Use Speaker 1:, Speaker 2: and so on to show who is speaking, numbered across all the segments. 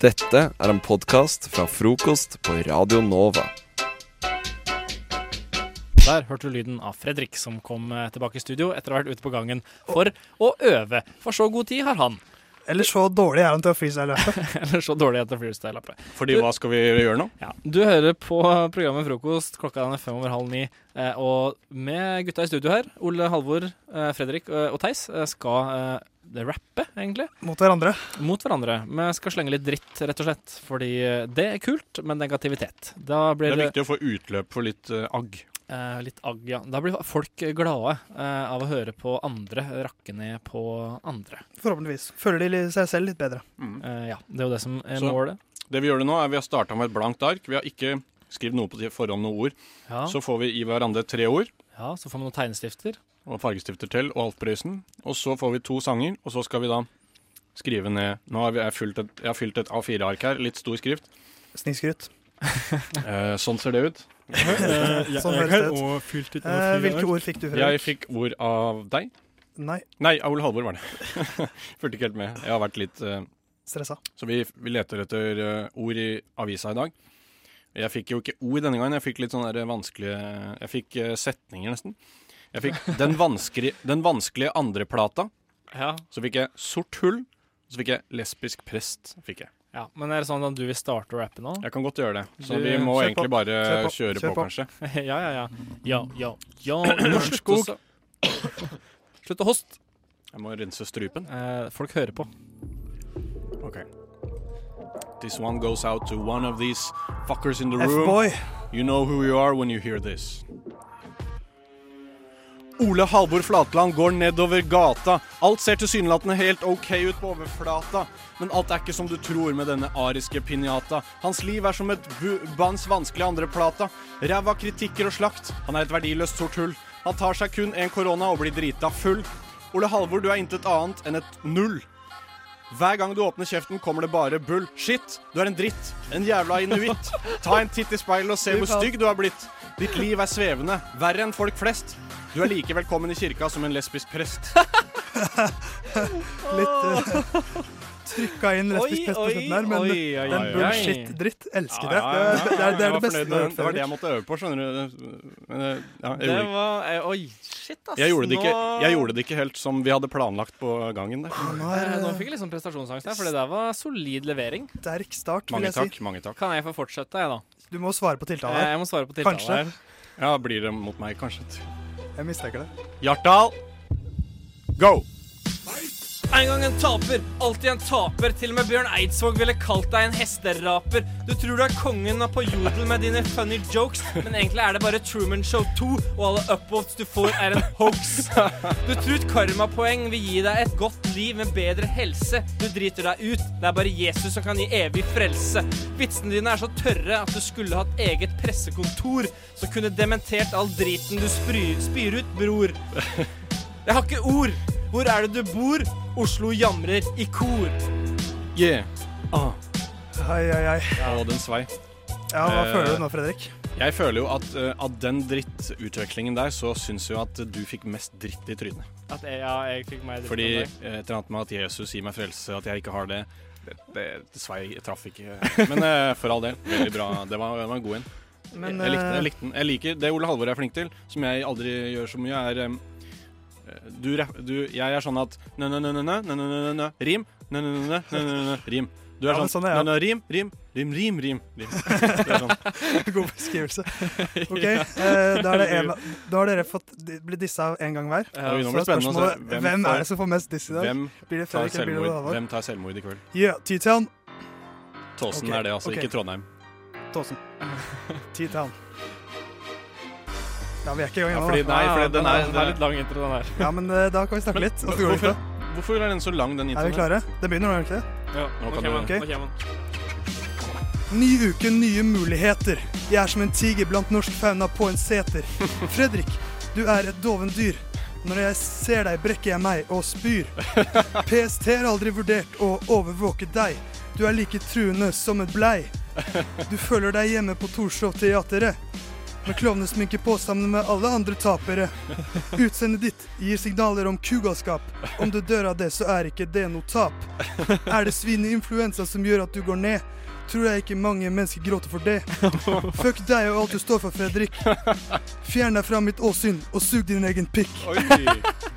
Speaker 1: Dette er en podkast fra frokost på Radio Nova.
Speaker 2: Der hørte du lyden av Fredrik, som kom eh, tilbake i studio etter å ha vært ute på gangen for å øve. For så god tid har han.
Speaker 3: Eller så dårlig er han til å freestyle-rappe.
Speaker 2: Eller så dårlig etter freestyle-lappet.
Speaker 4: Fordi hva skal vi gjøre nå?
Speaker 2: Ja, du hører på programmet Frokost. Klokka den er fem over halv ni. eh, Og med gutta i studio her, Ole Halvor, eh, Fredrik eh, og Theis, eh, skal eh, rappe, egentlig,
Speaker 3: Mot hverandre.
Speaker 2: mot hverandre. Vi skal slenge litt dritt, rett og slett. Fordi eh, det er kult, men negativitet. Da
Speaker 4: Det
Speaker 2: blir
Speaker 4: er viktig å få utløp for litt eh, agg.
Speaker 2: Eh, litt agg, ja. Da blir folk glade eh, av å høre på andre rakke ned på andre.
Speaker 3: Forhåpentligvis. Føler de seg selv litt bedre.
Speaker 4: Mm.
Speaker 2: Eh, ja, Det er jo det som er
Speaker 4: Så-
Speaker 2: målet.
Speaker 4: Det vi gjør det nå, er vi har starta med et blankt ark. Vi har ikke skrevet noe på forhånd noe ord.
Speaker 2: Ja.
Speaker 4: Så får vi i hverandre tre ord
Speaker 2: ja, Så får vi noen tegnestifter.
Speaker 4: og fargestifter til og Altprøysen. Og så får vi to sanger, og så skal vi da skrive ned Nå har vi, jeg, fylt et, jeg har fylt et A4-ark her, litt stor skrift.
Speaker 3: Snikskryt.
Speaker 4: Eh, sånn ser det ut.
Speaker 5: Eh, jeg,
Speaker 3: Sånn
Speaker 5: jeg
Speaker 3: høres
Speaker 5: har
Speaker 3: det ut.
Speaker 5: også fylt ut
Speaker 3: Eh,
Speaker 5: noen
Speaker 3: hvilke
Speaker 5: friark.
Speaker 3: ord fikk du,
Speaker 4: Jeg
Speaker 3: Fredrik?
Speaker 4: fikk ord av deg.
Speaker 3: Nei,
Speaker 4: Nei, av Ole Halvor var det. Fulgte ikke helt med. Jeg har vært litt eh,
Speaker 3: stressa.
Speaker 4: Så vi, vi leter etter eh, ord i avisa i dag. Jeg fikk jo ikke ord denne gangen, jeg fikk litt sånne der vanskelige Jeg fikk eh, setninger, nesten. Jeg fikk den, vanskelig, den vanskelige andreplata.
Speaker 2: Ja.
Speaker 4: Så fikk jeg Sort hull. Så fikk jeg Lesbisk prest. fikk jeg.
Speaker 2: ja, Men er det sånn at du vil starte å rappe nå?
Speaker 4: Jeg kan godt gjøre det. Så
Speaker 2: Du,
Speaker 4: vi må
Speaker 3: kjør på.
Speaker 4: egentlig bare
Speaker 3: Kjør på.
Speaker 4: kjøre
Speaker 3: Kjør
Speaker 4: på,
Speaker 3: på.
Speaker 4: kanskje.
Speaker 2: ja, ja, ja. Ja, ja, ja. Norsk
Speaker 4: skog.
Speaker 2: Slutt å hoste.
Speaker 4: Jeg må rense strupen.
Speaker 2: Eh, folk hører på.
Speaker 4: Ok. This one goes out to one of these fuckers in the room.
Speaker 3: F-boy.
Speaker 4: You know who you are when you hear this. Ole Halvor Flatland går nedover gata. Alt ser tilsynelatende helt OK ut på overflata. Men alt er ikke som du tror med denne ariske pinjata. Hans liv er som et bu bands vanskelige andreplata. Ræva kritikker og slakt. Han er et verdiløst sort hull. Han tar seg kun en korona og blir drita full. Ole Halvor, du er intet annet enn et null. Hver gang du åpner kjeften, kommer det bare bull. Shit, du er en dritt. En jævla inuitt. Ta en titt i speilet og se hvor stygg du har blitt. Ditt liv er svevende, verre enn folk flest. Du er like velkommen i kirka som en lesbisk prest.
Speaker 3: Litt uh, trykka inn lesbisk pest på slutten der, men
Speaker 2: oi,
Speaker 3: den
Speaker 4: oi.
Speaker 3: bullshit-dritt elsker det.
Speaker 4: Ja,
Speaker 3: Det,
Speaker 4: ja,
Speaker 3: er- det, er- det
Speaker 4: jeg
Speaker 3: er
Speaker 4: var
Speaker 3: det beste
Speaker 4: fornøyd
Speaker 3: du har gjort,
Speaker 4: med- Det var det
Speaker 3: Fredrik.
Speaker 4: jeg måtte øve på, skjønner du. Men eh, ja, jeg gjorde ikke.
Speaker 2: var eh, Oi, shit, ass.
Speaker 4: Jeg gjorde, det ikke,
Speaker 2: Nå-
Speaker 4: jeg gjorde det ikke helt som vi hadde planlagt på gangen. Der.
Speaker 3: Nå
Speaker 2: Eh,
Speaker 3: er
Speaker 2: Nå
Speaker 3: det
Speaker 2: fikk jeg liksom prestasjonsangst her, for det der var solid levering.
Speaker 3: sterk start, vil
Speaker 4: Mange
Speaker 3: jeg si.
Speaker 4: takk. mange takk
Speaker 2: Kan jeg få fortsette, jeg, da?
Speaker 3: Du må svare på
Speaker 2: Eh,
Speaker 3: tiltalen her.
Speaker 2: Jeg må svare på tiltalen
Speaker 3: Kanskje.
Speaker 2: her.
Speaker 4: Ja, Blir det mot meg, kanskje?
Speaker 3: Jeg mistenker det.
Speaker 4: Hjartdal, go!
Speaker 2: En gang en taper, alltid en taper. Til og med Bjørn Eidsvåg ville kalt deg en hesteraper. Du tror du er kongen av på jodel med dine funny jokes, men egentlig er det bare Truman Show 2, og alle upvotes du får, er en hoax. Du tror karmapoeng vil gi deg et godt liv med bedre helse. Du driter deg ut. Det er bare Jesus som kan gi evig frelse. Vitsene dine er så tørre at du skulle hatt eget pressekontor som kunne dementert all driten du spry- spyr ut, bror. Jeg har ikke ord. Hvor er det du bor? Oslo jamrer i kor.
Speaker 4: Yeah. Ah.
Speaker 3: Ai, ai, ai.
Speaker 4: Og den svei.
Speaker 3: Ja, hva
Speaker 4: Eh,
Speaker 3: føler du nå, Fredrik?
Speaker 4: Jeg føler jo at eh, av den drittutvekslingen der, så syns jeg jo at du fikk mest dritt i trynet.
Speaker 2: At jeg, ja, jeg fikk meg dritt
Speaker 4: Fordi
Speaker 2: om
Speaker 4: eh,
Speaker 2: deg.
Speaker 4: et eller annet med at Jesus gir meg frelse, at jeg ikke har det Det, det, det svei, jeg traff ikke Men eh, for all del, veldig bra. Det var, det var en god en.
Speaker 3: Men
Speaker 4: jeg, likte,
Speaker 3: eh,
Speaker 4: jeg likte den. Jeg liker det Ole Halvor er flink til, som jeg aldri gjør så mye, er em, eh, du, rap- du, Jeg er sånn at nø-nø-nø-nø-nø-nø-nø Rim. Nø-nø-nø-nø-nø-nø Rim. Du er
Speaker 3: Ja, men
Speaker 4: sånn
Speaker 3: sånn er jeg.
Speaker 4: nø-nø rim, rim, rim, rim, rim. rim. Du er sånn.
Speaker 3: God beskrivelse. Ok, eh, da, er det en, da har dere fått di- blitt dissa en gang hver.
Speaker 4: Oi,
Speaker 3: Så
Speaker 4: nå
Speaker 3: er
Speaker 4: blir det spennende å se.
Speaker 3: spørsmålet
Speaker 4: Hvem
Speaker 3: hvem, er
Speaker 4: får-
Speaker 3: det som får mest diss i dag?
Speaker 4: Hvem
Speaker 3: Blir det
Speaker 4: tar
Speaker 3: Fredrik eller blir det
Speaker 4: selvmord,
Speaker 3: Halvor?
Speaker 4: hvem tar selvmord i kveld?
Speaker 3: Ja, T-Town.
Speaker 4: Tåsen
Speaker 3: Ok,
Speaker 4: er det, altså.
Speaker 3: ok.
Speaker 4: Ikke Trondheim.
Speaker 3: Tåsen. T-Town. Ja, vi er ikke i gang
Speaker 4: Ja,
Speaker 3: ennå.
Speaker 4: fordi,
Speaker 3: da.
Speaker 4: nei, fordi den er,
Speaker 2: den er litt lang intro, den her.
Speaker 3: Ja, men eh, da kan vi snakke litt. Og så går det
Speaker 4: hvorfor,
Speaker 3: ikke.
Speaker 4: hvorfor er den så lang, den
Speaker 3: Er vi
Speaker 4: introen?
Speaker 3: klare? Det begynner nå, er det ikke det?
Speaker 2: Ja,
Speaker 4: nå kan du-
Speaker 3: Ok.
Speaker 2: kommer den.
Speaker 3: Ny uke, nye muligheter. Jeg er som en tiger blant norsk fauna på en seter. Fredrik, du er et doven dyr. Når jeg ser deg, brekker jeg meg og spyr. PST har aldri vurdert å overvåke deg. Du er like truende som et blei. Du føler deg hjemme på Torshov-teatret. med klovnesminke på sammen med alle andre tapere. Utseendet ditt gir signaler om kugalskap. Om du dør av det, så er ikke det noe tap. Er det svineinfluensa som gjør at du går ned? Tror jeg ikke mange mennesker gråter for det. Fuck deg og alt du står for, Fredrik. Fjern deg fra mitt åsyn og sug din egen pikk.
Speaker 4: Oi,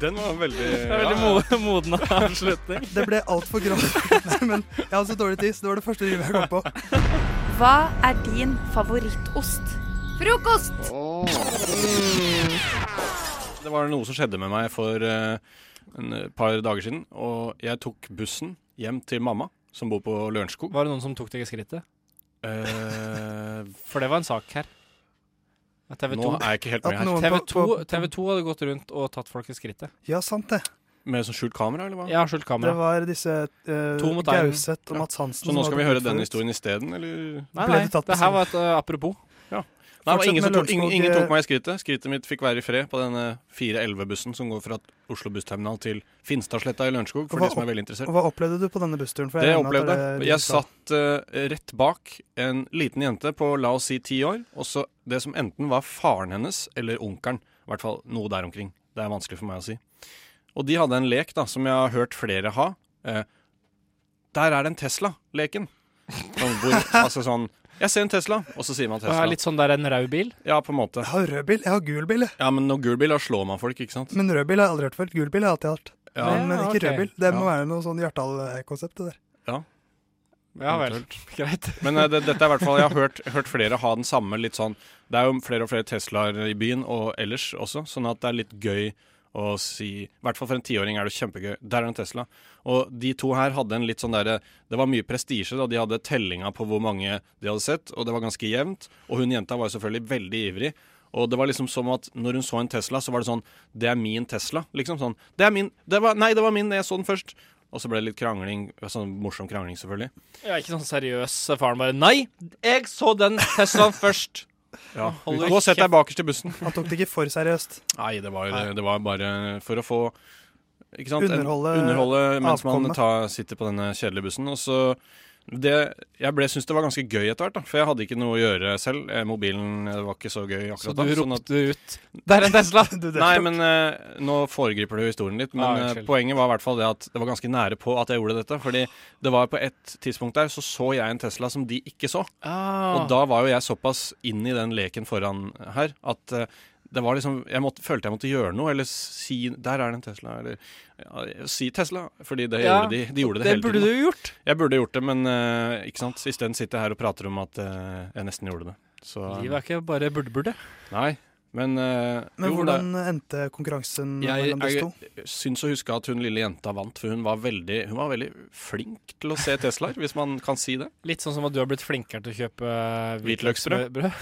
Speaker 4: den var veldig
Speaker 2: Det er veldig mo moden avslutning.
Speaker 3: Det ble altfor grovt. Nei, men jeg har så dårlig tid, så altså, det var det første rimet jeg kom på.
Speaker 5: Hva er din favorittost? Frokost!
Speaker 4: Det var noe som skjedde med meg for eh, en eh, par dager siden. Og jeg tok bussen hjem til mamma, som bor på Lørenskog.
Speaker 2: Var det noen som tok deg i skrittet?
Speaker 4: Eh,
Speaker 2: For det var en sak her. At TV
Speaker 4: nå
Speaker 2: 2
Speaker 4: er jeg ikke helt
Speaker 3: At
Speaker 4: med her.
Speaker 3: noen
Speaker 2: TV
Speaker 3: på,
Speaker 2: 2,
Speaker 3: på
Speaker 2: TV 2 hadde gått rundt og tatt folk i skrittet.
Speaker 3: Ja, sant det.
Speaker 4: Med sånn skjult kamera, eller hva?
Speaker 2: Jeg har skjult
Speaker 3: Det
Speaker 2: kamera.
Speaker 3: var disse eh,
Speaker 2: To mot én.
Speaker 3: Gauseth og Mats Hansen.
Speaker 4: Så nå
Speaker 3: som
Speaker 4: skal vi
Speaker 3: hadde
Speaker 4: høre
Speaker 3: gått
Speaker 4: den
Speaker 3: forut.
Speaker 4: historien isteden, eller?
Speaker 2: Nei,
Speaker 3: Ble
Speaker 2: nei,
Speaker 3: det tatt på
Speaker 2: det her var et eh, apropos.
Speaker 4: Nei, det var
Speaker 3: Fortsett
Speaker 4: ingen,
Speaker 3: med
Speaker 4: som tok, ingen,
Speaker 3: Lørenskog,
Speaker 4: ingen
Speaker 3: eh,
Speaker 4: tok meg i skrittet. Skrittet mitt fikk være i fred på denne 411-bussen som går fra Oslo bussterminal til Finstadsletta i Lørenskog, for
Speaker 3: Hva-
Speaker 4: de som er veldig interessert.
Speaker 3: Og Hva opplevde du på denne bussturen? For
Speaker 4: Det
Speaker 3: regner med at
Speaker 4: opplevde
Speaker 3: det
Speaker 4: jeg.
Speaker 3: er sånn-
Speaker 4: Jeg
Speaker 3: digital.
Speaker 4: satt eh, rett bak en liten jente på la oss si ti år, og så det som enten var faren hennes eller onkelen. I hvert fall noe der omkring. Det er vanskelig for meg å si. Og de hadde en lek da, som jeg har hørt flere ha. Eh, der er det en Tesla-leken. Sånn, hvor, altså sånn Jeg ser en Tesla, og så sier man
Speaker 2: Det er
Speaker 4: Tesla.
Speaker 2: litt sånn der en rød bil.
Speaker 4: Ja, på en måte.
Speaker 3: Jeg har rød bil, jeg har gul bil. jeg.
Speaker 4: Ja, men når gul bil, da slår man folk, ikke sant?
Speaker 3: Men rød bil har jeg aldri hørt før. Gul bil har jeg alltid hørt.
Speaker 4: Ja,
Speaker 2: Nei.
Speaker 3: men, men ikke
Speaker 2: ok.
Speaker 3: rød bil. Det må
Speaker 4: Ja.
Speaker 3: være noe sånn Hjartdal-konsept. det der.
Speaker 2: Ja vel. Greit.
Speaker 4: Men eh, det, dette er i hvert fall Jeg har hørt, hørt flere ha den samme litt sånn Det er jo flere og flere Teslaer i byen og ellers også, sånn at det er litt gøy å si I hvert fall for en tiåring er det kjempegøy. Der er en Tesla. Og de to her hadde en litt sånn derre Det var mye prestisje, da. De hadde tellinga på hvor mange de hadde sett, og det var ganske jevnt. Og hun jenta var jo selvfølgelig veldig ivrig. Og det var liksom som at når hun så en Tesla, så var det sånn Det er min Tesla. Liksom sånn. Det er min. Det var, nei, det var min. Jeg så den først. Og så ble det litt krangling. Sånn morsom krangling, selvfølgelig.
Speaker 2: Jeg er ikke sånn seriøs. Faren bare Nei, jeg så den Teslaen først.
Speaker 4: Ja.
Speaker 2: Holder
Speaker 4: Gå og sett deg bakerst i bussen.
Speaker 3: Han tok det ikke for seriøst.
Speaker 4: Nei, det var, jo det, det var bare for å få ikke sant? en-
Speaker 3: Underholde
Speaker 4: underholde mens man
Speaker 3: avkommet.
Speaker 4: tar, sitter på denne kjedelige bussen. Og så det, jeg ble- syntes det var ganske gøy etter hvert, da, for jeg hadde ikke noe å gjøre selv. Eh, Mobilen eh, var ikke så gøy
Speaker 2: Så
Speaker 4: akkurat
Speaker 2: du
Speaker 4: da. Sånn at,
Speaker 2: ropte ut Der er en Tesla!
Speaker 3: Du, det-
Speaker 4: nei, men eh, nå foregriper du historien litt, men
Speaker 2: Ah,
Speaker 4: eh,
Speaker 2: unnskyld.
Speaker 4: poenget var i hvert fall det at det var ganske nære på at jeg gjorde dette. Fordi det var på et tidspunkt der så så jeg en Tesla som de ikke så.
Speaker 2: Ah.
Speaker 4: Og da var jo jeg såpass inn i den leken foran her at eh, det var liksom, jeg måtte, følte jeg måtte gjøre noe, eller si 'der er det en Tesla', eller ja, si 'Tesla', fordi det
Speaker 2: Ja,
Speaker 4: gjorde de. De gjorde det,
Speaker 2: det
Speaker 4: hele
Speaker 2: burde
Speaker 4: tiden.
Speaker 2: du gjort.
Speaker 4: Jeg burde gjort det, men eh, ikke sant. Isteden sitter jeg her og prater om at eh, jeg nesten gjorde det. Så
Speaker 2: Livet er ikke bare burde-burde.
Speaker 4: Nei. Men, eh,
Speaker 3: men
Speaker 4: jo,
Speaker 3: hvordan endte konkurransen
Speaker 4: Jeg-
Speaker 3: mellom disse
Speaker 4: jeg-
Speaker 3: to?
Speaker 4: det, syns å huske at hun lille jenta vant, for hun var veldig, hun var veldig flink til å se Teslaer, hvis man kan si det.
Speaker 2: Litt sånn som at du har blitt flinkere til å kjøpe
Speaker 4: Hvitløksbrød.
Speaker 2: brød.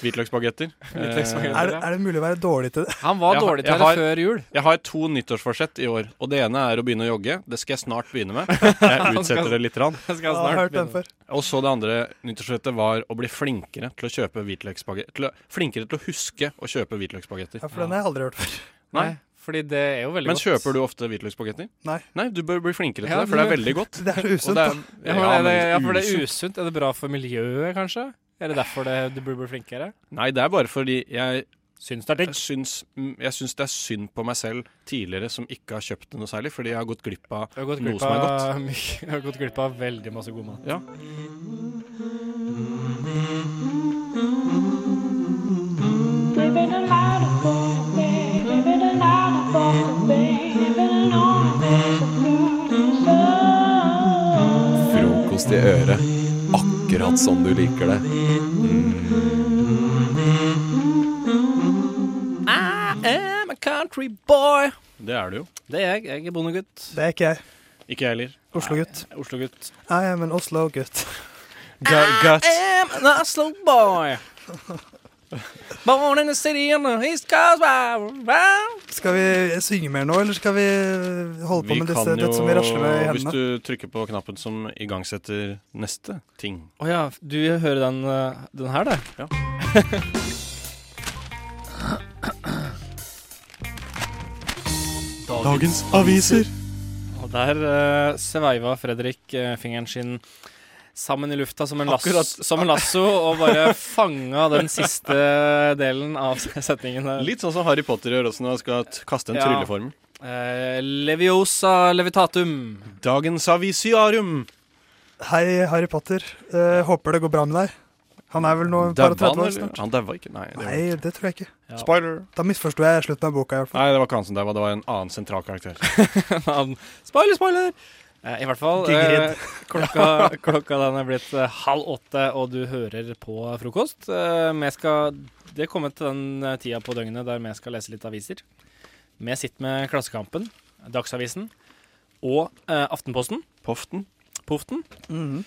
Speaker 4: Hvitløksbagetter.
Speaker 2: Hvitløksbagetter.
Speaker 4: Eh,
Speaker 3: Er det, er det mulig å være dårlig til det?
Speaker 2: Han var
Speaker 4: Jeg har-
Speaker 2: dårlig til
Speaker 4: jeg
Speaker 2: det
Speaker 4: har-
Speaker 2: før jul.
Speaker 4: Jeg har to nyttårsforsett i år, og det ene er å begynne å jogge. Det skal jeg snart begynne med. Jeg utsetter det litt. Rann.
Speaker 2: Jeg
Speaker 3: Jeg har hørt den før.
Speaker 4: Og så det andre nyttårsforsettet var å bli flinkere til å kjøpe hvitløksbagetter. Til å, flinkere til å huske å kjøpe hvitløksbagetter.
Speaker 3: Ja, for den har jeg aldri hørt før.
Speaker 2: Nei,
Speaker 4: Nei.
Speaker 2: fordi det er jo veldig
Speaker 4: Men
Speaker 2: godt.
Speaker 4: kjøper du ofte hvitløksbagetter?
Speaker 3: Nei.
Speaker 4: Nei, du bør bli flinkere til
Speaker 2: Ja,
Speaker 4: det, for det er
Speaker 2: men-
Speaker 4: veldig godt.
Speaker 3: Det er
Speaker 4: Og
Speaker 3: usunt.
Speaker 4: det
Speaker 3: da.
Speaker 4: er,
Speaker 2: Ja, men er det,
Speaker 4: men
Speaker 2: ja, for det
Speaker 4: usunt.
Speaker 2: er usunt. Er det bra for miljøet, kanskje? Er det derfor det, du burde bli flinkere?
Speaker 4: Nei, det er bare fordi jeg
Speaker 2: Syns det er digg.
Speaker 4: syns, mm, jeg syns det er synd på meg selv tidligere som ikke har kjøpt noe særlig, fordi jeg har gått glipp av
Speaker 2: Du har gått
Speaker 4: Noe
Speaker 2: glipp
Speaker 4: som er
Speaker 2: av mye- Jeg har gått glipp av veldig masse god mat.
Speaker 4: Ja.
Speaker 6: Living a lot of fun, baby. Living a lot of fun, baby. Living a lot of fun.
Speaker 1: Frokost i øret, akkurat som du liker det.
Speaker 2: I'm a country boy.
Speaker 4: Det er det jo.
Speaker 2: Det er jeg. Jeg er bondegutt.
Speaker 3: Det er ikke jeg.
Speaker 4: Ikke jeg heller.
Speaker 3: Oslo-gutt.
Speaker 4: Oslo-gutt.
Speaker 3: Jeg er en Oslo-gutt.
Speaker 4: Gutt.
Speaker 2: am an Oslo boy. Born in the city on the east coast.
Speaker 3: Skal vi synge mer nå, eller skal vi holde på med disse, dette som vi rasler med i
Speaker 4: Hvis
Speaker 3: hendene?
Speaker 4: du trykker på knappen som igangsetter neste ting
Speaker 2: Å ja, du hører den, eh, den her, da?
Speaker 4: Ja.
Speaker 2: Dagens aviser. Og der eh, sveiva Fredrik eh, fingeren sin sammen i lufta som en,
Speaker 4: Akkurat.
Speaker 2: lasso, som en lasso og bare fanga den siste delen av setningen der.
Speaker 4: Litt sånn som Harry Potter gjør også når han skal t kaste en
Speaker 2: Ja.
Speaker 4: trylleformel.
Speaker 2: Eh, leviosa levitatum.
Speaker 4: Dagens avisiarium.
Speaker 3: Hei, Harry Potter. Eh, håper det går bra med deg. Han er vel nå et par og
Speaker 4: Daua
Speaker 3: tretti
Speaker 4: han,
Speaker 3: år
Speaker 4: eller?
Speaker 3: snart?
Speaker 4: Han daua ikke. Nei, det var-
Speaker 3: Nei, det tror jeg ikke.
Speaker 2: Ja.
Speaker 4: Spoiler.
Speaker 3: Da misforsto jeg slutten av boka. i hvert fall.
Speaker 4: Nei, det var ikke han som daua, det var en annen sentral karakter.
Speaker 2: Han- spoiler, spoiler! Eh, I hvert fall.
Speaker 3: Digrid.
Speaker 2: eh, klokka, klokka den er blitt eh, halv åtte, og du hører på frokost. Eh, vi skal, det er kommet til den eh, tida på døgnet der vi skal lese litt aviser. Vi sitter med Klassekampen, Dagsavisen og eh, Aftenposten.
Speaker 4: Poften.
Speaker 2: Poften.
Speaker 3: Mhm.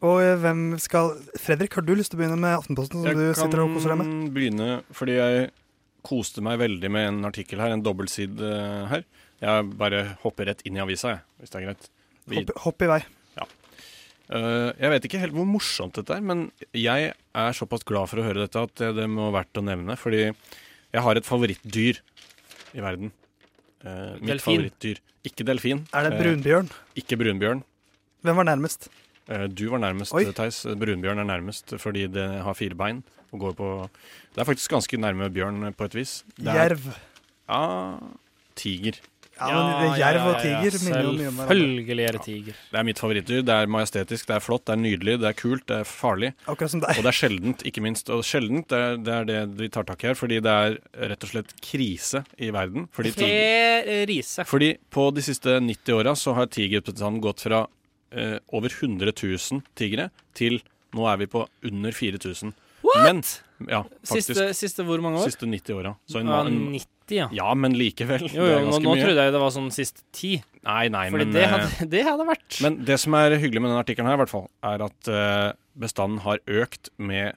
Speaker 3: Og eh, hvem skal Fredrik, har du lyst til å begynne med Aftenposten? som du sitter og koser deg med?
Speaker 4: begynne fordi jeg koste meg veldig med en artikkel her, en dobbeltside eh, her. Jeg bare hopper rett inn i avisa, jeg, hvis det er greit. Vi-
Speaker 3: Hopp, hopp i vei.
Speaker 4: Eh, jeg vet ikke helt hvor morsomt dette er, men jeg er såpass glad for å høre dette at eh, det, det må være verdt å nevne. Fordi jeg har et favorittdyr i verden. Eh, mitt
Speaker 2: Delfin.
Speaker 4: favorittdyr. Ikke delfin.
Speaker 3: Er det
Speaker 4: eh,
Speaker 3: brunbjørn?
Speaker 4: ikke brunbjørn.
Speaker 3: Hvem var nærmest?
Speaker 4: Eh, du var nærmest,
Speaker 3: Oi.
Speaker 4: Theis. Brunbjørn er nærmest fordi det har fire bein. Og går på Det er faktisk ganske nærme bjørn eh, på et vis. Det er
Speaker 3: Jerv.
Speaker 4: ah, tiger.
Speaker 3: Ja, men Jerv og tiger minner jo mye om hverandre.
Speaker 2: Selvfølgelig er det tiger.
Speaker 4: Det er mitt favorittdyr. Det er majestetisk, det er flott, det er nydelig, det er kult, det er farlig.
Speaker 3: Akkurat som
Speaker 4: Og
Speaker 3: deg.
Speaker 4: det er sjeldent, ikke minst. Og sjeldent, det er, det er det de tar tak i her, fordi det er rett og slett krise i verden. Fordi, tiger,
Speaker 2: Tre rise.
Speaker 4: fordi på de siste 90 åra så har tigerbestanden gått fra eh, over 100 000 tigre til nå er vi på under 4000.
Speaker 2: What?
Speaker 4: Men ja, faktisk
Speaker 2: Siste,
Speaker 4: siste,
Speaker 2: siste hvor mange år?
Speaker 4: 90 åra. Så en,
Speaker 2: Ja,
Speaker 4: en
Speaker 2: 90, ja.
Speaker 4: Ja, men likevel.
Speaker 2: Jo,
Speaker 4: det
Speaker 2: jo,
Speaker 4: er
Speaker 2: nå,
Speaker 4: ganske
Speaker 2: nå
Speaker 4: mye.
Speaker 2: trodde jeg det var sånn sist ti.
Speaker 4: Nei, nei,
Speaker 2: Fordi
Speaker 4: men
Speaker 2: det,
Speaker 4: eh,
Speaker 2: hadde, det hadde vært
Speaker 4: Men det som er hyggelig med den artikkelen her, i hvert fall, er at eh, bestanden har økt med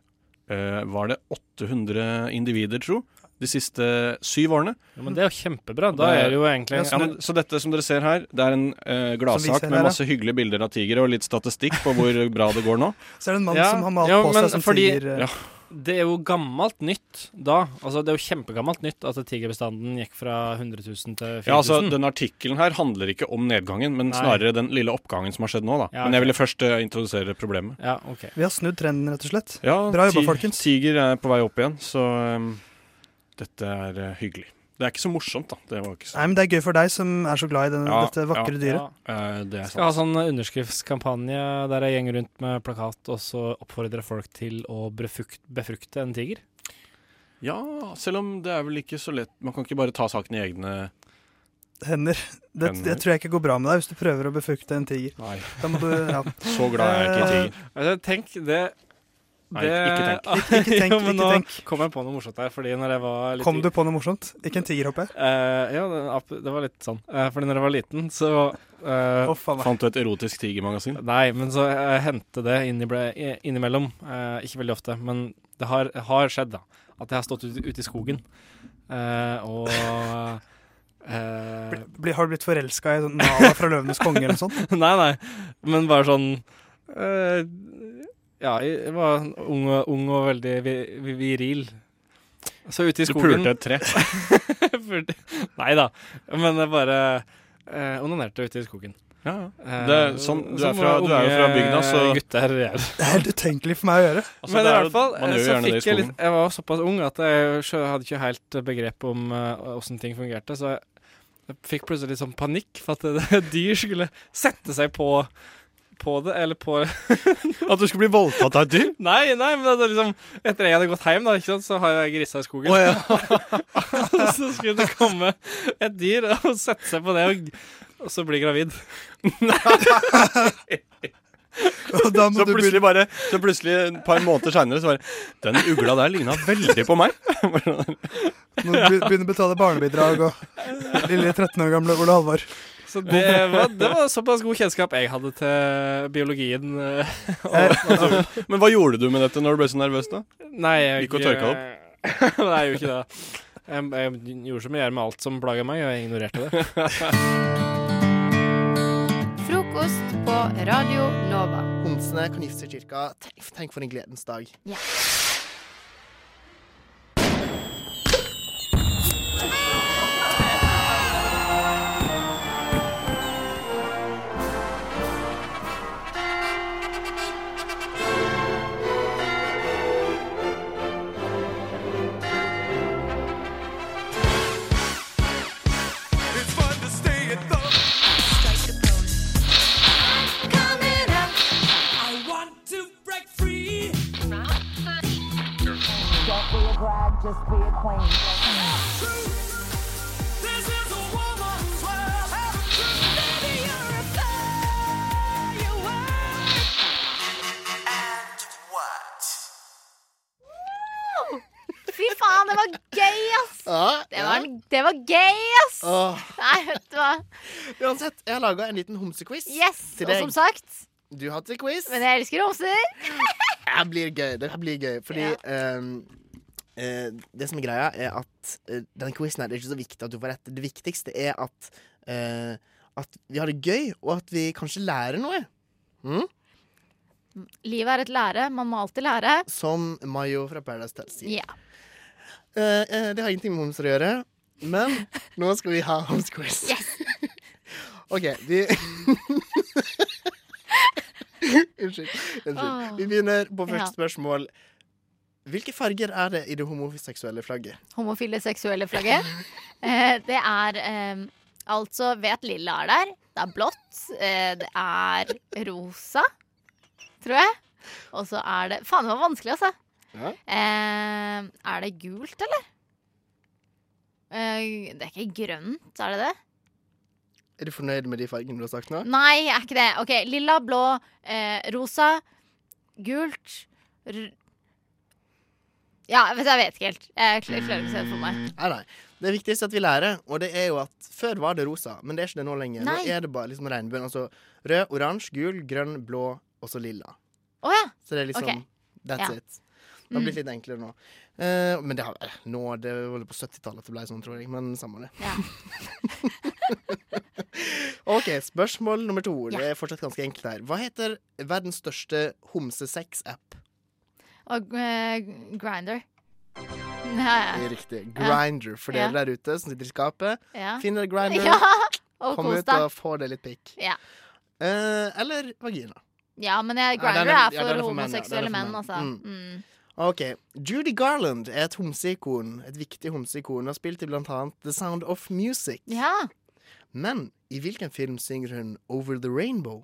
Speaker 4: eh, Var det 800 individer, tro? De siste syv årene.
Speaker 2: Jo, men det er jo kjempebra. Da
Speaker 4: Det er-
Speaker 2: er det jo egentlig
Speaker 4: Ja, men, så dette som dere ser her, det er en eh,
Speaker 3: Som vi ser
Speaker 4: gladsak
Speaker 3: her,
Speaker 4: med
Speaker 3: ja.
Speaker 4: masse hyggelige bilder av tigre og litt statistikk på hvor bra det går nå.
Speaker 3: Så er det en mann
Speaker 2: Ja,
Speaker 3: som har malt
Speaker 2: ja,
Speaker 3: på
Speaker 2: men
Speaker 3: seg som
Speaker 2: fordi-
Speaker 3: tiger. eh,
Speaker 4: Ja.
Speaker 2: Det er jo gammelt nytt da. Altså, det er jo kjempegammelt nytt at tigerbestanden gikk fra 100 000 til 4000.
Speaker 4: Ja, altså, Den artikkelen her handler ikke om nedgangen, men
Speaker 2: Nei.
Speaker 4: snarere den lille oppgangen som har skjedd nå. da.
Speaker 2: Ja,
Speaker 4: Men jeg
Speaker 2: ok.
Speaker 4: ville først eh, introdusere problemet.
Speaker 2: Ja, ok.
Speaker 3: Vi har snudd trenden, rett og slett.
Speaker 4: Ja,
Speaker 3: Bra jobba,
Speaker 4: ti-
Speaker 3: folkens.
Speaker 4: Tiger er på vei opp igjen, så eh, dette er eh, hyggelig. Det er ikke så morsomt, da. Det var ikke så...
Speaker 3: Nei, men Det er gøy for deg som er så glad i den,
Speaker 4: Ja,
Speaker 3: dette vakre
Speaker 2: Ja.
Speaker 3: dyret.
Speaker 4: Eh, det er sant.
Speaker 2: Skal ha sånn underskriftskampanje der jeg gjenger rundt med plakat og så oppfordrer folk til å befukt, befrukte en tiger.
Speaker 4: Ja, selv om det er vel ikke så lett Man kan ikke bare ta saken i egne
Speaker 3: Hender. Det,
Speaker 4: Hender.
Speaker 3: det tror jeg ikke går bra med deg hvis du prøver å befrukte en tiger.
Speaker 4: Nei.
Speaker 3: Da må du, eh, ja.
Speaker 4: Så glad er jeg ikke i tiger.
Speaker 2: Altså, tenk det
Speaker 4: Nei, ikke tenk.
Speaker 3: Ikke tenk,
Speaker 2: Jo, men
Speaker 3: ikke
Speaker 2: nå
Speaker 3: tenk.
Speaker 2: kom jeg på noe morsomt her, fordi når jeg var litt
Speaker 3: Kom du på noe morsomt? Ikke en tiger, håper jeg.
Speaker 2: Eh, ja, det, ap- det var litt sånn. Eh, fordi når jeg var liten, så eh,
Speaker 3: Å, faen meg.
Speaker 4: Fant du et erotisk tigermagasin?
Speaker 2: Nei, men så eh, hendte det inni ble, i- innimellom. Eh, ikke veldig ofte, men det har, har skjedd, da. At jeg har stått ute, ute i skogen eh, og eh,
Speaker 3: Bli- Har du blitt forelska i sånn Nala fra Løvenes konge eller noe sånt?
Speaker 2: Nei, nei, men bare sånn eh, Ja, jeg var ung og, ung og veldig vi, vi, viril. Så ute i
Speaker 4: Du
Speaker 2: skogen
Speaker 4: pulte et tre.
Speaker 2: Nei da, men jeg bare eh, onanerte ute i skogen.
Speaker 4: Ja, ja.
Speaker 2: Eh,
Speaker 4: Det er sånn- du er
Speaker 2: som
Speaker 4: fra- du er jo fra bygda, så-
Speaker 2: unge Eh, Gutter gjør.
Speaker 3: Det er helt utenkelig for meg å gjøre.
Speaker 4: Altså,
Speaker 2: Men
Speaker 4: det
Speaker 2: i
Speaker 4: er jo-
Speaker 2: hvert fall,
Speaker 4: man
Speaker 2: eh,
Speaker 4: gjør
Speaker 2: så
Speaker 4: gjerne det i
Speaker 2: fikk jeg litt
Speaker 4: skogen.
Speaker 2: Jeg var såpass ung at jeg sjø- hadde ikke helt begrep om åssen ting fungerte, så jeg, jeg fikk plutselig litt sånn panikk for at det, dyr skulle sette seg på på det, eller på
Speaker 4: At du skulle bli voldtatt av et dyr?
Speaker 2: Nei, nei, men altså liksom Etter jeg hadde gått hjem, da, ikke sant, så har jeg grisa i skogen. så skulle det komme et dyr og sette seg på det, og, og så bli gravid.
Speaker 3: Og da må du
Speaker 4: Så
Speaker 3: begynne
Speaker 4: plutselig, bare, så plutselig et par måneder seinere, så bare Den ugla der ligna veldig på meg.
Speaker 3: må du begynne å betale barnebidrag og lille 13 år gamle Ole Halvor.
Speaker 2: Så det var, det var såpass god kjennskap jeg hadde til biologien. eh,
Speaker 3: Eh,
Speaker 4: Men hva gjorde du med dette når du ble så nervøs, da?
Speaker 2: Nei, jeg
Speaker 4: Gikk og tørka
Speaker 2: opp? Nei, jeg gjorde ikke det. Jeg, jeg gjorde som jeg gjør med alt som plaga meg, og jeg ignorerte det.
Speaker 5: Frokost på Radio Nova.
Speaker 7: Homsene kan gifte seg cirka Tenk, tenk for en gledens dag.
Speaker 8: just reacquainted.
Speaker 5: Fy faen, det var gøy, ass!
Speaker 7: Ja,
Speaker 5: Det
Speaker 7: ja.
Speaker 5: var, det var gøy, ass!
Speaker 7: Åh.
Speaker 5: Nei, vet du hva.
Speaker 7: Uansett, jeg har laga en liten homsequiz
Speaker 5: Yes,
Speaker 7: til
Speaker 5: og
Speaker 7: deg.
Speaker 5: som sagt
Speaker 7: Du har til quiz.
Speaker 5: Men jeg elsker homser.
Speaker 7: Det blir gøy. Det her blir gøy fordi
Speaker 5: Ja.
Speaker 7: ehm, eh, Det som er greia, er at eh, denne quizen her, det er ikke så viktig at du får rett. Det viktigste er at, eh, at vi har det gøy, og at vi kanskje lærer noe. Hm?
Speaker 5: Livet er et lære. Man må alltid lære.
Speaker 7: Som Mayo fra Paradise Tell sier.
Speaker 5: Ja.
Speaker 7: Eh, eh, det har ingenting med homser å gjøre, men nå skal vi ha homsequiz. OK, vi Unnskyld. Unnskyld.
Speaker 5: Åh.
Speaker 7: Vi begynner på første
Speaker 5: Ah. Ja.
Speaker 7: spørsmål. Hvilke farger er det i det homoseksuelle flagget?
Speaker 5: Homofile seksuelle flagget. Eh, Det er eh, altså Vet lilla er der. Det er blått. eh, Det er rosa, tror jeg. Og så er det Faen, det var vanskelig, altså.
Speaker 7: Ja.
Speaker 5: Eh, Er det gult, eller? Eh, Det er ikke grønt, er det det?
Speaker 7: Er du fornøyd med de fargene du har sagt nå?
Speaker 5: Nei, jeg er ikke det. Ok, Lilla, blå, eh, rosa, gult r Ja, vet du, jeg vet ikke helt. Jeg kl- klarer ikke å se det for meg.
Speaker 7: Mm. Nei, nei. Det viktigste er at vi lærer, og det er jo at før var det rosa, men det er ikke det nå lenger.
Speaker 5: Nei.
Speaker 7: Nå er det bare liksom regnbuen. Altså rød, oransje, gul, grønn, blå og så lilla.
Speaker 5: Å ja.
Speaker 7: Så det er liksom
Speaker 5: Ok.
Speaker 7: That's
Speaker 5: Ja. Mm.
Speaker 7: it. Det har blitt litt enklere nå. Eh, men det har eh, nå, det var vel på 70-tallet at det ble sånn, tror jeg. Men samme det.
Speaker 5: Ja.
Speaker 7: OK, spørsmål nummer to.
Speaker 5: Ja.
Speaker 7: Det er fortsatt ganske enkelt her. Hva heter verdens største homsesex-app?
Speaker 5: Og eh, grinder. Ah. Ja,
Speaker 7: Det er Riktig. Grinder. For dere der ute som sitter i skapet,
Speaker 5: ja. ja.
Speaker 7: finn dere Grinder.
Speaker 5: ja. Og
Speaker 7: Kom
Speaker 5: kos
Speaker 7: ut
Speaker 5: deg.
Speaker 7: og få deg litt pikk.
Speaker 5: Ja.
Speaker 7: Eh, eller vagina.
Speaker 5: Ja, men
Speaker 7: Ja,
Speaker 5: jeg,
Speaker 7: den
Speaker 5: grinder
Speaker 7: er-
Speaker 5: er
Speaker 7: ja, den er
Speaker 5: for
Speaker 7: for menn, ja. Den er
Speaker 5: homoseksuelle
Speaker 7: for
Speaker 5: menn,
Speaker 7: menn.
Speaker 5: altså.
Speaker 7: Mm.
Speaker 5: Mm.
Speaker 7: Ok, Judy Garland er et homseikon. Et viktig homseikon. Hun har spilt i blant annet The Sound of Music.
Speaker 5: Ja.
Speaker 7: Men i hvilken film synger hun Over the Rainbow?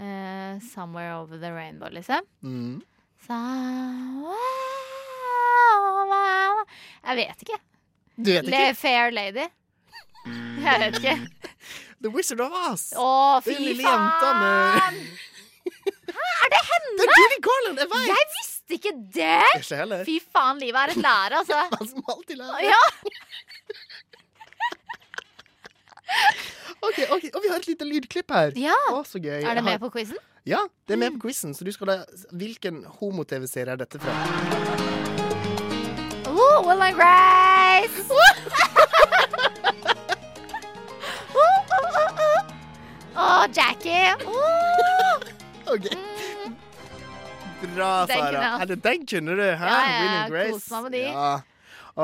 Speaker 5: Eh, somewhere over the rainbow, liksom.
Speaker 7: Mm.
Speaker 5: Somewhere Jeg vet ikke.
Speaker 7: Du vet
Speaker 5: Le
Speaker 7: ikke?
Speaker 5: Fair Lady. Jeg vet ikke.
Speaker 7: The Wizard of Oz!
Speaker 5: Å, fy
Speaker 7: Det er lille jenta
Speaker 5: faen!
Speaker 7: med Det er Judy Garland! Jeg vet!
Speaker 5: Jeg visste ikke det!
Speaker 7: Ikke heller.
Speaker 5: Fy faen, livet er et lære, altså.
Speaker 7: Han som alltid lærer.
Speaker 5: Ja,
Speaker 7: Ok, ok, Og vi har et lite lydklipp her.
Speaker 5: ja.
Speaker 7: Å, så gøy.
Speaker 5: Er
Speaker 7: Jeg
Speaker 5: det med
Speaker 7: har-
Speaker 5: på Mm. quizen?
Speaker 7: Ja, det er med på quizen. Så du skal da Hvilken homo-TV-serie er dette fra?
Speaker 5: Oh, Will and Grace! Å, Jackie! Mm. Åh.
Speaker 7: Ok Bra,
Speaker 5: Den kunne jeg
Speaker 7: Sara.
Speaker 5: hatt.
Speaker 7: Ja, det- Den kunne du. Hæ?
Speaker 5: Ja, ja, ja,
Speaker 7: Will and Grace.
Speaker 5: kos meg med de.
Speaker 7: Ja.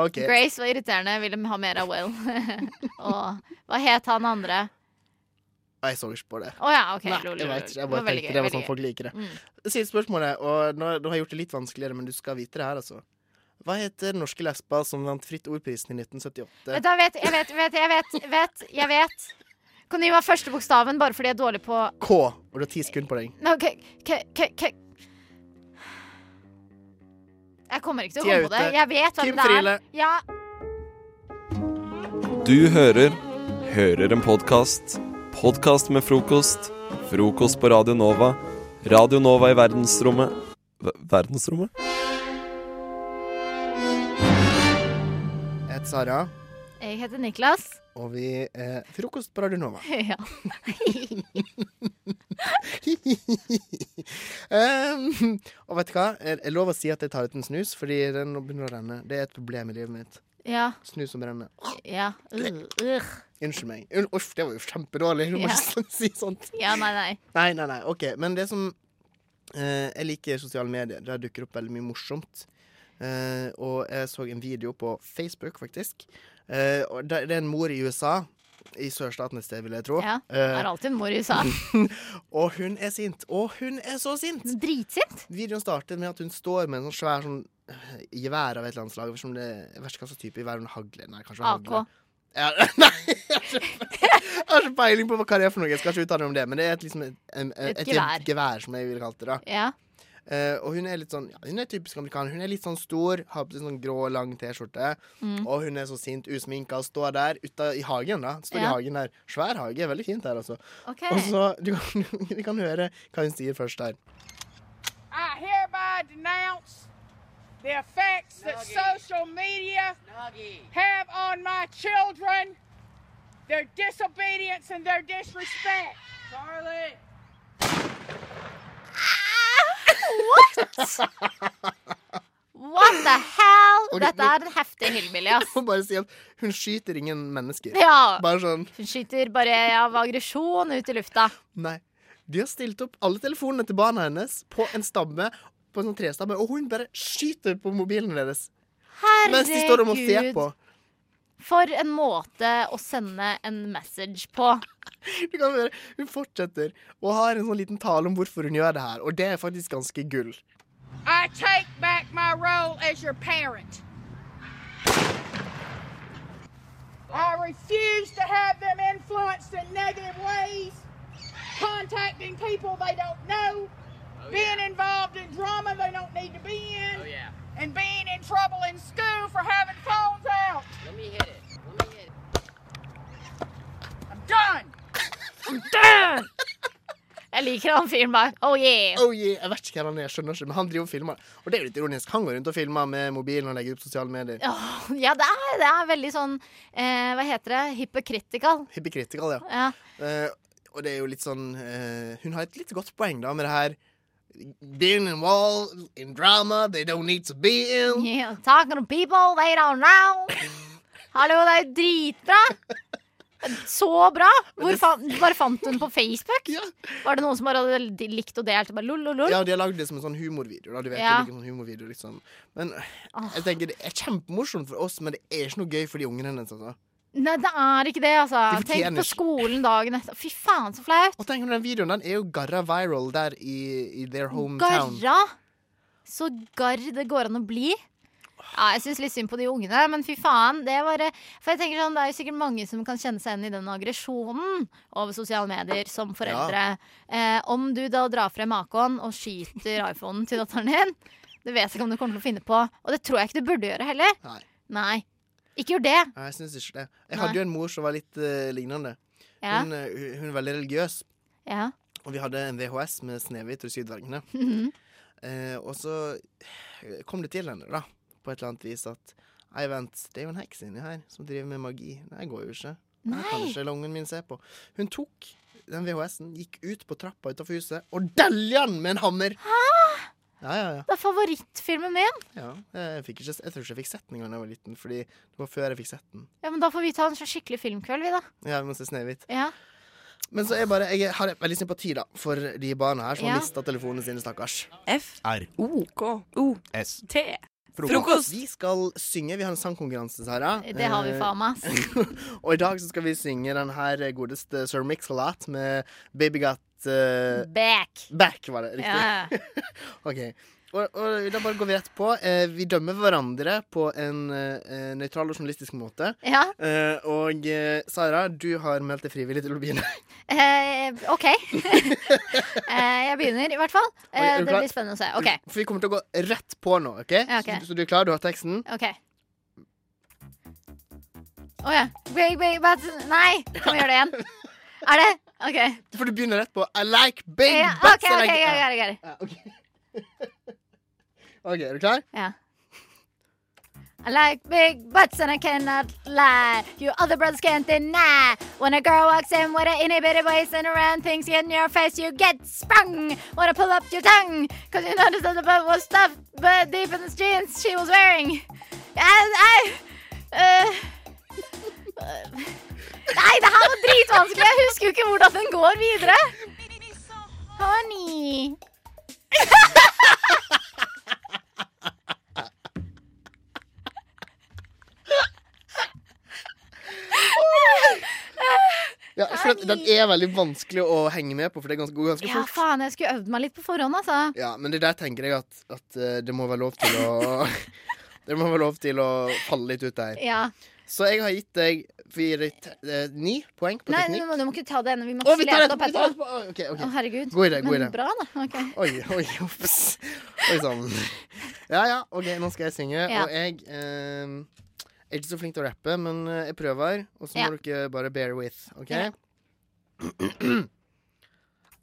Speaker 7: Ok.
Speaker 5: Grace var irriterende, ville ha mer av Will. Og hva het han andre?
Speaker 7: Nei, Jeg så ikke på det.
Speaker 5: Å ja, OK.
Speaker 7: Nei,
Speaker 5: lol, lol,
Speaker 7: jeg
Speaker 5: lol.
Speaker 7: vet ikke. Jeg
Speaker 5: Det
Speaker 7: bare
Speaker 5: var veldig
Speaker 7: tenkte det
Speaker 5: gøy,
Speaker 7: var
Speaker 5: veldig
Speaker 7: sånn folk liker det.
Speaker 5: Mm.
Speaker 7: Siste spørsmålet, og nå, nå har jeg gjort det litt vanskeligere, men du skal vite det her, altså. Hva heter den norske lesba som vant Fritt ordprisen i 1978?
Speaker 5: Vet du, jeg vet, jeg vet, vet, jeg vet, vet, jeg vet. Kan du gi meg første bokstaven, bare fordi jeg er dårlig på
Speaker 7: K. Og du har ti sekunder på deg.
Speaker 5: Nei, ok, k- k- k- Jeg kommer ikke til å
Speaker 7: Tida er
Speaker 5: komme på det.
Speaker 7: ute.
Speaker 5: Jeg vet hvem
Speaker 7: Kim
Speaker 5: det er.
Speaker 7: Friele.
Speaker 5: Ja,
Speaker 1: Du hører Hører en podkast. Podkast med frokost. Frokost på Radio Nova. Radio Nova i verdensrommet Ver- Verdensrommet?
Speaker 7: Jeg heter Sara,
Speaker 5: jeg heter Niklas.
Speaker 7: og vi er frokost på Radio Nova.
Speaker 5: Ja.
Speaker 7: Ehm, og vet du hva? Jeg jeg lover å si at jeg tar ut en snus, fordi den nå begynner å renne. Det er et problem i livet mitt.
Speaker 5: Ja.
Speaker 7: Snus som brenner.
Speaker 5: Ja. Ugh, ugh.
Speaker 7: Unnskyld meg. Un- Uff, det var jo kjempedårlig. Du må
Speaker 5: Ja.
Speaker 7: ikke si sånt.
Speaker 5: ja, nei, nei.
Speaker 7: Nei, nei, nei, ok Men det som eh, Jeg liker sosiale medier Der dukker opp veldig mye morsomt Eh, Og jeg så en video på Facebook faktisk Eh, Og der, det er en mor i USA I sørstaten et sted vil jeg tro
Speaker 5: Ja.
Speaker 7: Eh,
Speaker 5: Er alltid en mor i USA.
Speaker 7: Og hun er sint Og hun er så sint
Speaker 5: Dritsint.
Speaker 7: Videoen startet med at hun står med en sånn svær sånn eh, Gevær av et eller annet slag som det, Jeg vet ikke hva slags type gevær hun hagler Nei, kanskje
Speaker 5: AK.
Speaker 7: hagle. Ja, nei, jeg har ikke- jeg har ikke peiling på hva det er for noe. Jeg skal ikke uttale meg om det, men det er et, liksom et, en-
Speaker 5: Et
Speaker 7: et, et
Speaker 5: gevær.
Speaker 7: gevær, som jeg ville kalt det. da
Speaker 5: Ja.
Speaker 7: Eh, og hun er litt sånn ja, Hun er typisk amerikaner. Hun er litt sånn stor, har på seg sånn grå, lang T-skjorte.
Speaker 5: Mm.
Speaker 7: Og hun er så sint, usminka, og står der ute i hagen. da Står i
Speaker 5: Ja.
Speaker 7: hagen der. Svær hage. Veldig fint her, altså.
Speaker 5: OK.
Speaker 7: Og så du kan, Vi kan høre hva hun sier først her.
Speaker 8: I hereby denounce the effects that social media have on my children, their disobedience and their disrespect. Charlie.
Speaker 5: What the hell?
Speaker 7: Ok,
Speaker 5: Dette
Speaker 7: men-
Speaker 5: er en heftig hillbilly, ass.
Speaker 7: Og bare si at hun skyter ingen mennesker.
Speaker 5: Ja.
Speaker 7: Bare sånn
Speaker 5: Hun skyter bare av aggresjon ut i lufta.
Speaker 7: Nei. De har stilt opp alle telefonene til barna hennes på en stamme, på en sånn trestamme, og hun bare skyter på mobilen deres mens de står og må se
Speaker 5: Herregud,
Speaker 7: på.
Speaker 5: for en måte å sende en message på.
Speaker 7: Du kan høre, Hun fortsetter og har en sånn liten tale om hvorfor hun gjør det her, og det er faktisk ganske gull.
Speaker 8: I take back my role as your parent. I refuse to have them influenced in negative ways, contacting people they don't know, being involved in drama they don't need to be in, and being in trouble in school for having phones out. Let me hit it. Let me hit it. I'm done.
Speaker 5: Jeg liker han fyren bare. Oh yeah.
Speaker 7: Oh yeah, Jeg vet ikke hvem han er, jeg skjønner ikke, men han driver og filmer. Og det er jo litt ironisk. Han går rundt og filmer med mobilen og legger ut på sosiale medier.
Speaker 5: Åh, ja, det er, det er veldig sånn eh, Hva heter det? Hypocritical.
Speaker 7: Hypocritical, ja.
Speaker 5: Ja.
Speaker 7: Eh, og det er jo litt sånn eh, Hun har et litt godt poeng da med det her Being involved in drama they don't need to be in.
Speaker 5: Yeah, talking to people they don't know. Hallo, det er jo dritbra! Så bra! Hvor fan, bare fant hun på Facebook?
Speaker 7: Ja.
Speaker 5: Var det noen som bare hadde likt og delt? Bare lol, lol, lol.
Speaker 7: Ja, de har lagd det som en sånn humorvideo. Da. Du vet,
Speaker 5: Ja.
Speaker 7: det ligger en sånn humorvideo liksom. Men jeg tenker det er kjempemorsomt for oss, men det er ikke noe gøy for de ungene hennes. Altså.
Speaker 5: Nei, det er ikke det, altså.
Speaker 7: De fortjener
Speaker 5: Tenk på
Speaker 7: ikke.
Speaker 5: skolen dagen etter. Fy faen, så flaut.
Speaker 7: Og tenk om den videoen den er jo garra viral der i, i their hometown.
Speaker 5: Garra! Så garr det går an å bli. Ja, jeg syns litt synd på de ungene, men fy faen. Det var, eh, for jeg tenker sånn, det er jo sikkert mange som kan kjenne seg igjen i den aggresjonen over sosiale medier som foreldre. Eh, om du da drar frem AK-en og skyter iPhonen til datteren din, det vet jeg ikke om du kommer til å finne på. Og det tror jeg ikke du burde gjøre heller.
Speaker 7: Nei.
Speaker 5: Nei. Ikke gjør det.
Speaker 7: Nei, jeg syns ikke det. Jeg
Speaker 5: Nei.
Speaker 7: hadde jo en mor som var litt eh, lignende.
Speaker 5: Ja.
Speaker 7: Hun, eh, hun- hun er veldig religiøs.
Speaker 5: ja.
Speaker 7: Og vi hadde en VHS med Snehvit og Sydvergene. eh, og så kom det til henne, da, på et eller annet vis, at Nei, vent, det er jo en heks inni her som driver med magi. Nei, det går jo ikke. Nei. Kan
Speaker 5: Nei.
Speaker 7: ikke la ungen min se på. Hun tok den VHS-en, gikk ut på trappa utenfor huset og dælja den med en hammer! Ja, ja, ja.
Speaker 5: Det er favorittfilmen min.
Speaker 7: ja. Eh, Jeg, fikk ikke, jeg tror ikke jeg fikk sett den engang da jeg var liten, Fordi det var før jeg fikk sett den.
Speaker 5: Ja, men Da får vi ta en sånn skikkelig filmkveld, vi, da.
Speaker 7: Ja, vi må se Snehvit.
Speaker 5: Ja.
Speaker 7: Men så er jeg bare, jeg har veldig sympati da for de barna her som
Speaker 5: Ja.
Speaker 7: har mista telefonene sine, stakkars.
Speaker 9: F-R-O-K-O-S-T. Frokost.
Speaker 7: Vi skal synge. Vi har en sangkonkurranse, Sara.
Speaker 5: Det har vi
Speaker 7: Eh,
Speaker 5: faen meg. ass.
Speaker 7: Og i dag så skal vi synge den her godeste Sir Mix-a-Lot med Baby Got eh,
Speaker 5: Back.
Speaker 7: Back, var det riktig?
Speaker 5: Ja.
Speaker 7: Ok. Og, og da bare går vi rett på. Eh, vi dømmer hverandre på en eh, nøytral og journalistisk måte.
Speaker 5: ja.
Speaker 7: Eh, og eh, Sara, du har meldt deg frivillig til å begynne.
Speaker 5: Eh, OK. eh, jeg begynner, i hvert fall. Eh,
Speaker 7: er du
Speaker 5: det
Speaker 7: klar? Mm.
Speaker 5: blir spennende å se. OK.
Speaker 7: For vi kommer til å gå rett på nå. ok?
Speaker 5: Ja, ok.
Speaker 7: Så, så du er klar? Du har teksten?
Speaker 5: ok Å ja. Big, big, but, nei! Kan vi gjøre det igjen? Er det OK.
Speaker 7: For du begynner rett på I like big
Speaker 5: Ja,
Speaker 7: butts
Speaker 5: OK, OK,
Speaker 7: and I-
Speaker 5: okay, okay, okay.
Speaker 7: Ja, ok. OK, er du klar?
Speaker 5: Ja. I like big butts and I cannot lie. You other brothers can't deny. When a girl walks in with an itty bitty waist and around things in your face, you get sprung. Wanna pull up your tongue, cause you notice that the butt was stuffed but deep in the jeans she was wearing. And I, uh, Nei, det her var dritvanskelig. Jeg husker jo ikke hvordan den går videre. Honey.
Speaker 7: Ja, for den, den er veldig vanskelig å henge med på, for det er ganske, går ganske
Speaker 5: Ja,
Speaker 7: fort.
Speaker 5: faen, jeg skulle øvd meg litt på forhånd, altså.
Speaker 7: Ja, men det der tenker jeg at, at eh, det må være lov til å Det må være lov til å falle litt ut der.
Speaker 5: Ja.
Speaker 7: Så jeg har gitt deg fire, te- eh, ni poeng på
Speaker 5: Nei,
Speaker 7: teknikk.
Speaker 5: nå må, du må ikke ta det ennå. Vi må
Speaker 7: Å, vi tar
Speaker 5: lese det
Speaker 7: det
Speaker 5: opp
Speaker 7: vi tar
Speaker 5: etterpå.
Speaker 7: det på- OK. ok.
Speaker 5: Å, herregud.
Speaker 7: God idé, god
Speaker 5: Men
Speaker 7: idé.
Speaker 5: Bra, da. Ok.
Speaker 7: Oi, oi, ops. Oi sann. Ja ja, OK, nå skal jeg synge.
Speaker 5: Ja.
Speaker 7: Og jeg ehm, er ikke så flink til å rappe, men eh, jeg prøver. Og så må
Speaker 5: Ja.
Speaker 7: dere eh, bare bear with, OK?
Speaker 5: Ja.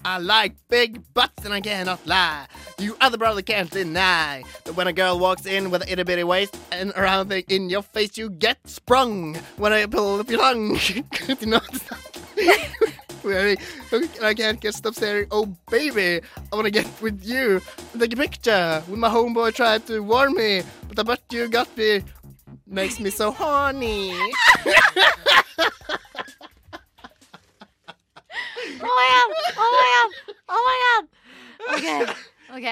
Speaker 7: I like big butts and I cannot lie. You other brother can't deny that when a girl walks in with an itty bitty waist and around thing in your face, you get sprung when I pull up your tongue. Do not. Very- And I can't get stop staring. Oh baby, I wanna get with you and take a picture. When my homeboy tried to warn me, but the butt you got me makes me so horny.
Speaker 5: Oh my god! Oh my god! Oh my god! OK.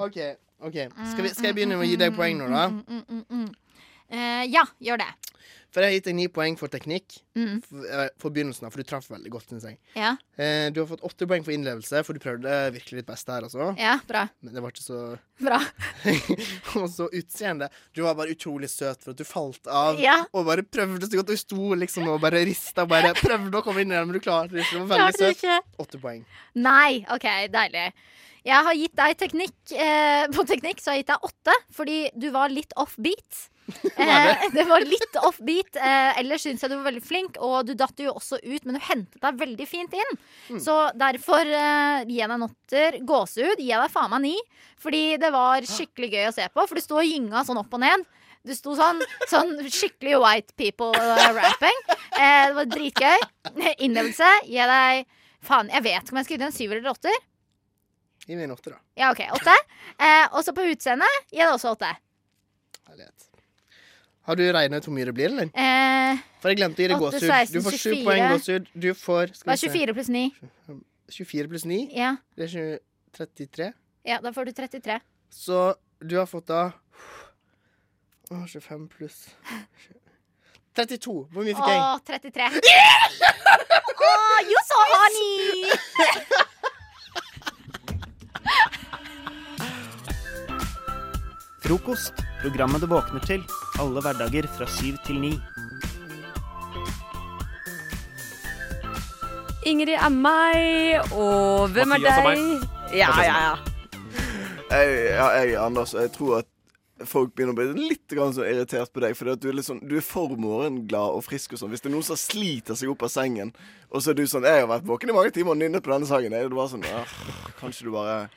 Speaker 5: ok
Speaker 7: OK, ok. Skal, vi, skal jeg begynne med å gi deg poeng nå, da?
Speaker 5: Mm, mm, mm, mm. Eh, ja, gjør det.
Speaker 7: For jeg har gitt deg ni poeng for teknikk.
Speaker 5: Mm.
Speaker 7: For, eh, for begynnelsen av, for du traff veldig godt, syns jeg.
Speaker 5: Ja,
Speaker 7: Eh, du har fått åtte poeng for innlevelse, for du prøvde virkelig ditt beste her, altså.
Speaker 5: ja, bra.
Speaker 7: Men det var ikke så
Speaker 5: Bra.
Speaker 7: Og så utseende. Du var bare utrolig søt for at du falt av.
Speaker 5: Ja.
Speaker 7: Og bare prøvde så godt. Du sto liksom og bare rista bare prøvde å komme inn i den, men du klarte det ikke. Du var
Speaker 5: Klarte du
Speaker 7: veldig søt.
Speaker 5: ikke?
Speaker 7: Åtte poeng.
Speaker 5: Nei. OK, deilig. Jeg har gitt deg teknikk. Eh, på teknikk så har jeg gitt deg åtte, fordi du var litt offbeat. Eh, det var litt offbeat. Eh, ellers syns jeg du var veldig flink, og du datt jo også ut, men du hentet deg veldig fint inn.
Speaker 7: Mm.
Speaker 5: Så derfor eh, gir jeg deg en åtter. Gåsehud gir jeg deg faen meg ni, fordi det var skikkelig gøy å se på. For du sto og gynga sånn opp og ned. Du sto sånn, sånn skikkelig white people-rapping. Eh, det var dritgøy. Innlevelse gir jeg deg Faen, jeg vet ikke om jeg skulle gitt deg en syver eller åtter.
Speaker 7: Gi meg en åtte, da.
Speaker 5: Ja, OK, åtte. Eh, også på utseendet gir jeg deg også åtte.
Speaker 7: Herlighet. Har du regna ut hvor mye det blir, eller?
Speaker 5: Eh,
Speaker 7: For jeg glemte å gi deg
Speaker 5: Åtte,
Speaker 7: gåsehud. Du
Speaker 5: seksten,
Speaker 7: får sju
Speaker 5: 24.
Speaker 7: poeng gåsehud. Du får
Speaker 5: hva
Speaker 7: skal
Speaker 5: er
Speaker 7: vi se,
Speaker 5: 24 pluss 9?
Speaker 7: 24 pluss 9.
Speaker 5: Ja,
Speaker 7: Det er 20, 33.
Speaker 5: ja, da får du 33.
Speaker 7: Så du har fått da Å, 25 pluss 32. Hvor mye
Speaker 5: Å,
Speaker 7: fikk jeg?
Speaker 5: 33. Å, you so honey!
Speaker 10: Frokost. Programmet du våkner til. Alle hverdager fra syv til ni.
Speaker 9: Ingrid er meg, og hvem er
Speaker 11: Mathias er
Speaker 9: deg?
Speaker 11: meg.
Speaker 9: Ja,
Speaker 11: Mathias er
Speaker 9: ja, ja.
Speaker 12: Jeg, ja, jeg er Anders, og jeg tror at folk begynner å bli litt grann sånn irritert på deg. Fordi at du er, litt sånn, du er for morgenglad og frisk og sånn. Hvis det er noen som sliter seg opp av sengen, og så er du sånn 'Jeg har vært våken i mange timer og nynnet på denne sangen.' Er det bare sånn «Ah, Kanskje du bare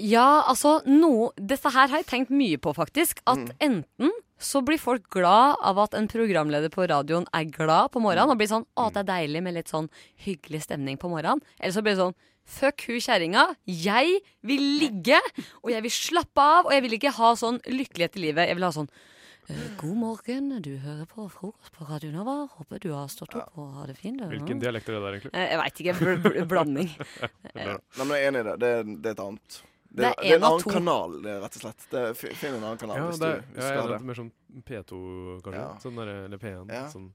Speaker 9: Ja, altså, no, dette her har jeg tenkt mye på, faktisk. At
Speaker 11: Mm.
Speaker 9: enten så blir folk glad av at en programleder på radioen er glad på morgenen og blir sånn 'Å,
Speaker 11: Mm.
Speaker 9: det er deilig med litt sånn hyggelig stemning på morgenen'. Eller så blir det sånn 'Fuck hun kjerringa. Jeg vil ligge, og jeg vil slappe av, og jeg vil ikke ha sånn lykkelighet i livet. Jeg vil ha sånn «Eh, God morgen, du hører på frokost på Radio Nova. Håper du har stått opp og har det fint. du».
Speaker 11: Hvilken dialekt er det der, egentlig?
Speaker 9: Eh, Jeg veit ikke. Bl bl blanding.
Speaker 11: Eller,
Speaker 12: Nei, men jeg er enig i det. Det er, det er et annet. Det,
Speaker 9: Det er
Speaker 12: er, det er en
Speaker 9: en av
Speaker 12: annen
Speaker 9: to.
Speaker 12: kanal, det, er rett og slett. Det, er- fi- finn en annen kanal
Speaker 11: ja,
Speaker 12: hvis
Speaker 11: det,
Speaker 12: du
Speaker 11: ja,
Speaker 12: skal
Speaker 11: jeg er
Speaker 12: ha det.
Speaker 11: litt mer sånn P2, kanskje.
Speaker 12: Ja.
Speaker 11: Sånn der, eller P1.
Speaker 12: Ja.
Speaker 11: Sånn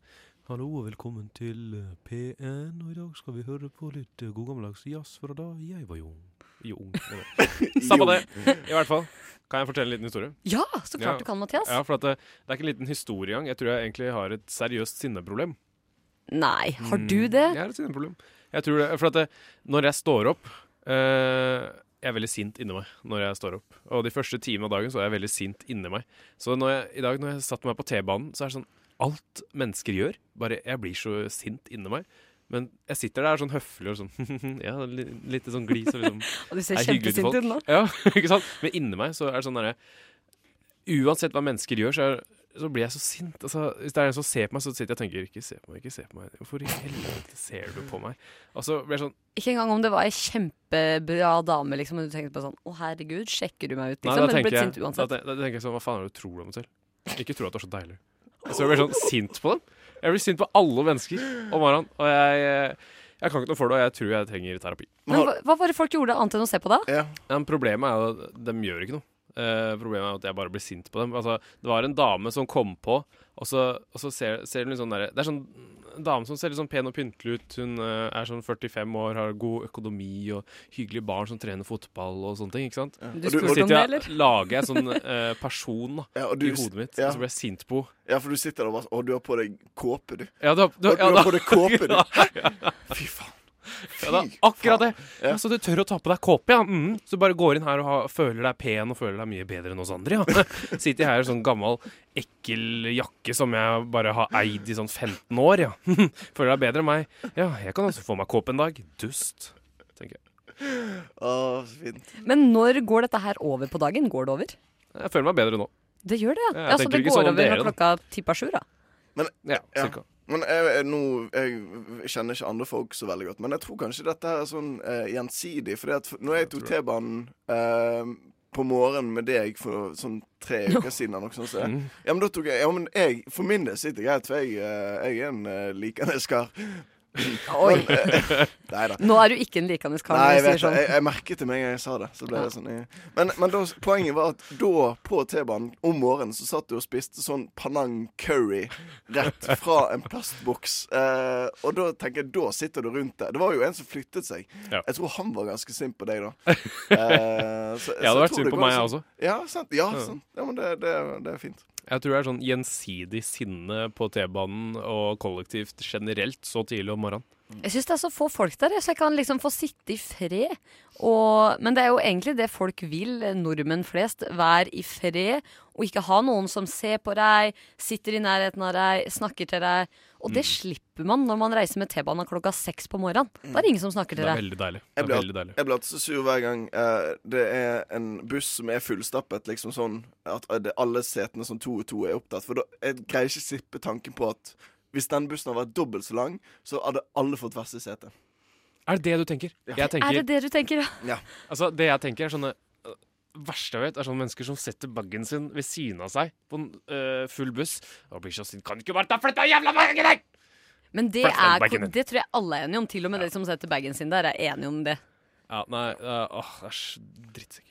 Speaker 11: Hallo og velkommen til eh, P1, og i dag skal vi høre på litt eh, god gammeldags jazz fra da jeg var ung. Jo, ung. jeg vet. Samme det. I hvert fall. Kan jeg fortelle en liten historie?
Speaker 9: Ja, så
Speaker 11: Ja.
Speaker 9: klart du kan, Mathias.
Speaker 11: Ja, for at det, det er ikke en liten historie engang. Jeg tror jeg egentlig har et seriøst sinneproblem.
Speaker 9: Nei, har du
Speaker 11: Mm,
Speaker 9: det?
Speaker 11: Jeg har et sinneproblem. Jeg tror det, for at det, når jeg står opp eh, Jeg er veldig sint inni meg når jeg står opp. Og de første timene av dagen så er jeg veldig sint inni meg. Så når jeg, i dag når jeg satte meg på T-banen, så er det sånn Alt mennesker gjør, bare jeg blir så sint inni meg. Men jeg sitter der sånn høflig og sånn Ja, li- litt sånn glis og liksom
Speaker 9: Og du ser
Speaker 11: er hyggelig til
Speaker 9: kjempesint
Speaker 11: folk.
Speaker 9: ut nå.
Speaker 11: Ja, ikke sant? Men inni meg så er det sånn derre Uansett hva mennesker gjør, så, er, så blir jeg så sint. Altså, hvis det er en som ser på meg, så sitter jeg og tenker Ikke se på meg, ikke se på meg. Hvorfor i helvete ser du på meg? Og så blir jeg sånn
Speaker 9: Ikke engang om det var ei kjempebra dame, liksom, og du tenkte på sånn Å, herregud, sjekker du meg ut,
Speaker 11: Nei, da,
Speaker 9: liksom? Men du
Speaker 11: tenker
Speaker 9: ble
Speaker 11: jeg,
Speaker 9: sint
Speaker 11: da,
Speaker 9: uansett.
Speaker 11: ten- da tenker jeg sånn Hva faen er det du tror om deg selv? Ikke tro at du er så deilig. Så jeg blir sånn sint på dem. Jeg blir sint på alle mennesker om morgenen. Og jeg, eh, jeg kan ikke noe for det, og jeg tror jeg trenger terapi.
Speaker 9: Men hva, hva var det folk gjorde annet enn å se på da?
Speaker 12: Ja.
Speaker 11: Ja, men problemet er jo at de gjør ikke noe. Eh, problemet er at jeg bare blir sint på dem. Altså, det var en dame som kom på, og så, og så ser, ser hun litt sånn derre Det er sånn dame som ser litt sånn pen og pyntelig ut. Hun eh, er sånn 45 år, har god økonomi og hyggelige barn som trener fotball og sånne ting. ikke sant?
Speaker 12: Ja. Du
Speaker 11: Og
Speaker 12: spurte
Speaker 11: så
Speaker 12: om
Speaker 11: sitter jeg
Speaker 12: det, eller?
Speaker 11: lager jeg sånn eh, person da,
Speaker 12: Ja, og du-
Speaker 11: i hodet mitt,
Speaker 12: ja.
Speaker 11: og så blir jeg sint på henne.
Speaker 12: Ja, for du sitter der og bare sånn, Å, du har på deg kåpe, du.
Speaker 11: Ja, du har- du-
Speaker 12: Å,
Speaker 11: ja,
Speaker 12: har
Speaker 11: da-
Speaker 12: på deg kåpe, du.
Speaker 11: Ja.
Speaker 12: Hæ? Fy faen.
Speaker 11: Ja, det er akkurat det! Altså, Ja. Så du tør å ta på deg kåpe, ja. Mm. Så du bare går inn her og har, føler deg pen og føler deg mye bedre enn oss andre, ja. Sitter jeg her i sånn gammel, ekkel jakke som jeg bare har eid i sånn 15 år, ja. Føler deg bedre enn meg. Ja, jeg kan også få meg kåpe en dag. Dust, tenker jeg.
Speaker 12: Å, så fint.
Speaker 9: Men når går dette her over på dagen? Går det over?
Speaker 11: Jeg føler meg bedre nå.
Speaker 9: Det gjør det, ja.
Speaker 11: Jeg
Speaker 9: ja så
Speaker 11: tenker
Speaker 9: det
Speaker 11: ikke
Speaker 9: går
Speaker 11: sånn om
Speaker 9: over når
Speaker 11: dere, da.
Speaker 9: klokka tipper sju, da.
Speaker 12: Men,
Speaker 11: ja, cirka.
Speaker 12: men jeg, jeg, nå, jeg kjenner ikke andre folk så veldig godt, men jeg tror kanskje dette her er sånn eh, gjensidig. Fordi at f- når jeg tok T-banen eh, på morgenen med deg for sånn tre uker siden eller noe sånt, så,
Speaker 11: Mm.
Speaker 12: ja, men da tok jeg, ja, men jeg For min del sitter jeg greit, for jeg, eh, jeg er en eh, likende skar.
Speaker 9: Oi.
Speaker 12: Men, eh, Nei da.
Speaker 9: Nå er du ikke en likandes kar.
Speaker 12: Nei, jeg,
Speaker 9: når du
Speaker 12: vet,
Speaker 9: sier sånn.
Speaker 12: det. jeg, jeg merket det med en gang jeg sa det. Så ble det sånn, eh. men men da, poenget var at da, på T-banen om morgenen, så satt du og spiste sånn panang curry rett fra en plastboks. Eh, og da tenker jeg, da sitter du rundt der. Det var jo en som flyttet seg.
Speaker 11: Ja.
Speaker 12: Jeg tror han var ganske sint på deg, da. Eh, så-
Speaker 11: Jeg hadde
Speaker 12: så
Speaker 11: vært
Speaker 12: tror
Speaker 11: sint
Speaker 12: det
Speaker 11: på
Speaker 12: går
Speaker 11: meg,
Speaker 12: sånn-
Speaker 11: jeg også.
Speaker 12: Ja, sant. Ja,
Speaker 11: Ja.
Speaker 12: sant. ja men det, det, det er fint.
Speaker 11: Jeg tror det er sånn gjensidig sinne på T-banen og kollektivt generelt så tidlig om morgenen.
Speaker 9: Jeg syns det er så få folk der, jeg, så jeg kan liksom få sitte i fred. Og, men det er jo egentlig det folk vil, eh, nordmenn flest. Vær i fred og ikke ha noen som ser på deg, sitter i nærheten av deg, snakker til deg. Og det slipper man når man reiser med T-banen klokka seks på morgenen. Da er Mm. det ingen som snakker til deg.
Speaker 11: deilig.
Speaker 12: Jeg blir, jeg blir alltid så sur hver gang eh, det er en buss som er fullstappet, liksom sånn at det- alle setene sånn to og to er opptatt. For da, jeg greier ikke slippe tanken på at hvis den bussen hadde vært dobbelt så lang, så hadde alle fått hvert sitt sete.
Speaker 11: Er det det du tenker? Jeg tenker
Speaker 9: Er det det du tenker, ja?
Speaker 12: Ja.
Speaker 11: Altså, det jeg tenker er sånne øh, verste jeg vet, er sånne mennesker som setter baggen sin ved siden av seg på en øh, full buss. Og blir så sint. Kan du ikke bare ta flytta jævla baggen din?!
Speaker 9: Men det,
Speaker 11: Flytt den
Speaker 9: er,
Speaker 11: baggen din.
Speaker 9: det tror jeg alle er enige om. Til og med de som setter bagen sin der, er enige om det.
Speaker 11: Ja, nei, øh, åh, æsj. Drittsekker.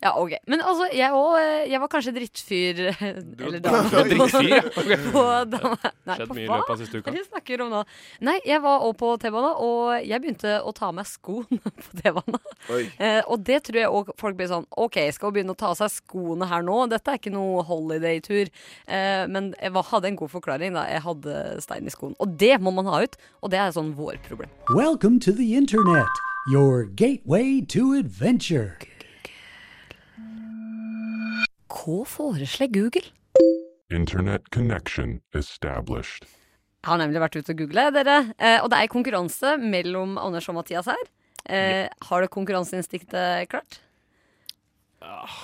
Speaker 9: Ja, ok. Men altså, jeg òg Jeg var kanskje drittfyr eh, Eller
Speaker 11: du var drittfyr, ja. Ok.
Speaker 9: på dame. Nei,
Speaker 11: Skjedd
Speaker 9: på
Speaker 11: mye i
Speaker 9: hva?
Speaker 11: løpet av siste uka.
Speaker 9: Hva er det du snakker om nå? Nei, jeg var òg på T-banen, og jeg begynte å ta av meg skoene på T-banen.
Speaker 12: Oi.
Speaker 9: Eh, og det tror jeg òg folk blir sånn OK, skal hun begynne å ta av seg skoene her nå? Dette er ikke noe holiday-tur. Eh, men jeg var, hadde en god forklaring, da. Jeg hadde stein i skoen. Og det må man ha ut. Og det er sånn vår problem.
Speaker 13: Welcome to the internet, your gateway to adventure.
Speaker 9: Hva foreslår Google?
Speaker 14: Internet connection established.
Speaker 9: Jeg har nemlig vært ute og googla, dere. Eh, og det er konkurranse mellom Anders og Mathias her. Eh, har du konkurranseinstinktet klart?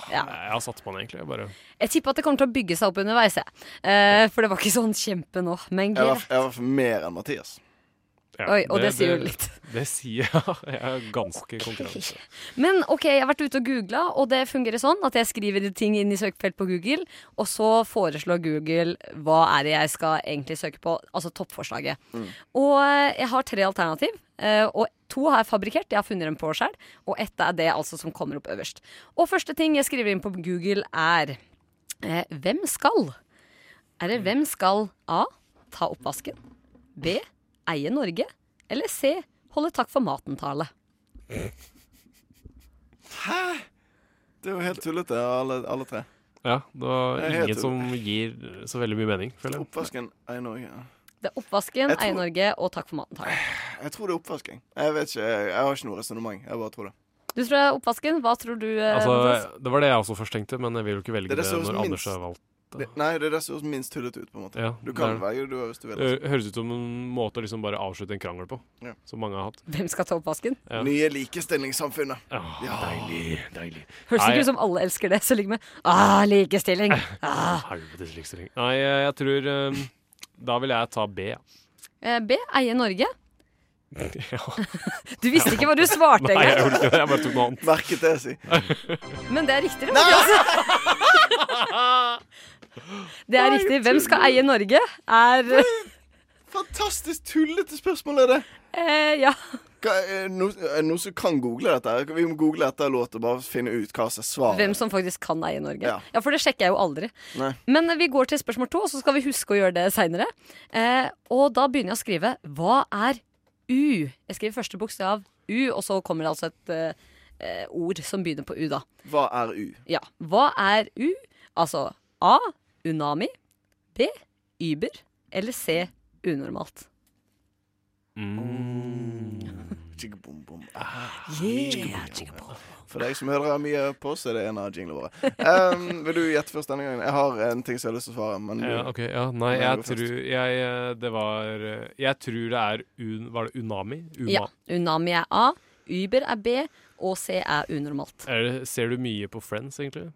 Speaker 9: Ja.
Speaker 11: Nei, Jeg har satt på den, egentlig. Jeg bare
Speaker 9: Jeg tipper at det kommer til å bygge seg opp underveis, jeg. Eh, for det var ikke sånn kjempe nå. Men
Speaker 12: Jeg var,
Speaker 9: greit.
Speaker 12: jeg var for mer enn Mathias.
Speaker 11: ja,
Speaker 9: Oi, og det sier jo litt.
Speaker 11: Det sier jeg. Jeg er ganske konkurranse.
Speaker 9: Men ok, jeg har vært ute og googla, og det fungerer sånn at jeg skriver ting inn i søkefelt på Google, og så foreslår Google hva er det jeg skal egentlig søke på, altså toppforslaget. Og eh, jeg har tre alternativ. eh, Og to har jeg fabrikkert, jeg har funnet dem på selv. Og ett er det altså som kommer opp øverst. Og første ting jeg skriver inn på Google er eh, Hvem skal? Er det hvem skal A. Ta oppvasken. B. Eie Norge. Eller C. Holde takk for maten-tale.
Speaker 12: Hæ? Det er jo helt tullete, alle, alle tre.
Speaker 11: Ja, det var
Speaker 12: Jeg heter-
Speaker 11: ingen som gir så veldig mye mening, føler jeg.
Speaker 12: Oppvasken er i Norge. ja.
Speaker 9: Det er oppvasken,
Speaker 12: Jeg tror-
Speaker 9: Eie Norge og takk for maten-tale.
Speaker 12: Jeg tror det er oppvasking. Jeg vet ikke, jeg, jeg har ikke noe resonnement. Jeg bare tror det.
Speaker 9: Du tror det er oppvasken. Hva tror du? eh, Mathias?
Speaker 11: Altså, det var det jeg også først tenkte, men jeg vil jo ikke velge
Speaker 12: Det er det
Speaker 11: det,
Speaker 12: som
Speaker 11: når
Speaker 12: minst-
Speaker 11: Anders har valgt.
Speaker 12: det nei, det er det som høres minst tullete ut, på en måte.
Speaker 11: Ja,
Speaker 12: du
Speaker 11: det
Speaker 12: kan
Speaker 11: er det.
Speaker 12: velge det du har hvis du vil. altså.
Speaker 11: Det høres ut som en måte å liksom bare avslutte en krangel på,
Speaker 12: Ja.
Speaker 11: som mange har hatt.
Speaker 9: Hvem skal ta oppvasken?
Speaker 11: Ja.
Speaker 12: Nye likestillingssamfunnet.
Speaker 11: Ja. Deilig. deilig.
Speaker 9: Høres ikke ut som alle elsker det, så ligger med ah, likestilling. Ah.
Speaker 11: Helvetes likestilling. Nei, eh, jeg tror eh, Da vil jeg ta B. ja.
Speaker 9: Eh, B. Eie Norge.
Speaker 11: Ja.
Speaker 9: Du visste ikke hva du svarte
Speaker 11: Nei, jeg
Speaker 9: engang.
Speaker 11: gjorde ikke det. Jeg bare tok noe annet.
Speaker 12: Merket det, si.
Speaker 9: Men det er riktig. det, Mathias. Det er riktig. Hvem skal eie Norge? Er
Speaker 12: Fantastisk tullete spørsmål er det.
Speaker 9: eh, Ja.
Speaker 12: Hva, er det noen er det noen som kan google dette? her? Vi må google etter låt og bare finne ut hva som er svaret.
Speaker 9: Hvem som faktisk kan eie Norge.
Speaker 12: Ja.
Speaker 9: Ja. For det sjekker jeg jo aldri.
Speaker 12: Nei.
Speaker 9: Men vi går til spørsmål to, og så skal vi huske å gjøre det seinere. Eh, og da begynner jeg å skrive Hva er U? Jeg skriver første bokstav U, og så kommer det altså et eh, eh, ord som begynner på U, da.
Speaker 12: Hva er U?
Speaker 9: Ja. Hva er U? Altså A. Unami. B. Uber. Eller C. Unormalt.
Speaker 11: Mm.
Speaker 12: Jigabom-bom.
Speaker 11: Ah,
Speaker 9: Yeah,
Speaker 12: Ah, For deg som hører mye på, så er det en av jinglene våre. Ehm, vil du gjette først denne gangen? Jeg har en ting som jeg har lyst til å svare. Men du,
Speaker 11: Ja, ok, ja, nei,
Speaker 12: Men jeg
Speaker 11: jeg
Speaker 12: går
Speaker 11: tror, jeg, eh, det var, eh, jeg tror det er un, Var det Unami? Uma.
Speaker 9: Ja. Unami er A. Uber er B. Og C er unormalt.
Speaker 11: Er det, ser du mye på Friends, egentlig?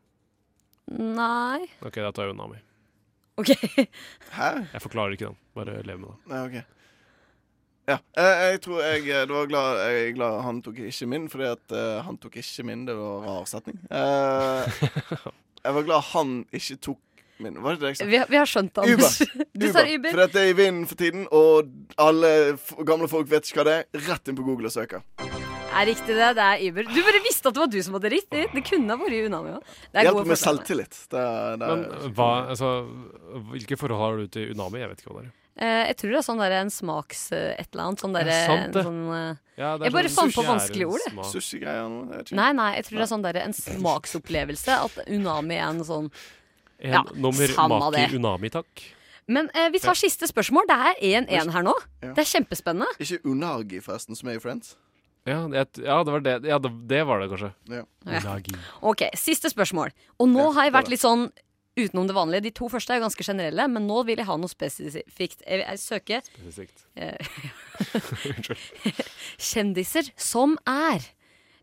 Speaker 9: Nei.
Speaker 11: Ok, da tar jeg Unami.
Speaker 9: OK.
Speaker 12: Hæ?
Speaker 11: Jeg forklarer ikke den. Bare lev med det.
Speaker 12: Nei, ok. Ja. eh, Jeg tror jeg eh, Det var glad, jeg er glad han tok ikke min, fordi at eh, han tok ikke min, det var en rar setning. Eh, jeg var glad han ikke tok min. Var det det jeg sa?
Speaker 9: Vi, har- vi har skjønt det, Anders.
Speaker 12: Uber.
Speaker 9: Du tar Uber.
Speaker 12: For dette er i vinden for tiden, og alle f gamle folk vet ikke hva det er. Rett inn på Google og søker.
Speaker 9: Er riktig det, det er Uber. Du bare visste at det var du som hadde riktig. Det kunne ha vært Unami òg.
Speaker 12: Hjelper med selvtillit. Det, er- det, er-
Speaker 11: Men hva, altså, hvilke forhold har du til Unami? Jeg vet ikke hva det er.
Speaker 9: jeg tror det er sånn der en smaks eh, et eller annet. Sånn der,
Speaker 11: Det er sant,
Speaker 9: en
Speaker 11: det.
Speaker 9: sånn, eh,
Speaker 11: Ja, det er
Speaker 9: jeg bare
Speaker 11: sånn
Speaker 9: fant
Speaker 11: sushi
Speaker 9: på
Speaker 11: er
Speaker 9: vanskelige
Speaker 11: en
Speaker 9: ord. jeg.
Speaker 11: smak.
Speaker 12: Sushigreier nå? jeg vet ikke.
Speaker 9: Nei, nei, jeg tror det er sånn der, en smaksopplevelse. At Unami er en sånn
Speaker 11: En
Speaker 9: Ja,
Speaker 11: nummer
Speaker 9: samme
Speaker 11: maker
Speaker 9: det.
Speaker 11: Unami, takk.
Speaker 9: Men eh, vi tar siste spørsmål. Det er 1-1 her nå.
Speaker 12: Ja.
Speaker 9: Det er kjempespennende.
Speaker 12: Ikke Unagi, forresten, som er i Friends.
Speaker 11: Ja, det, ja, det var det. Ja, det, det var det, kanskje.
Speaker 12: Ja.
Speaker 9: Ja. OK, siste spørsmål. Og nå har jeg vært litt sånn utenom det vanlige. De to første er ganske generelle, men nå vil jeg ha noe spesifikt. Jeg, jeg søker eh, kjendiser som er.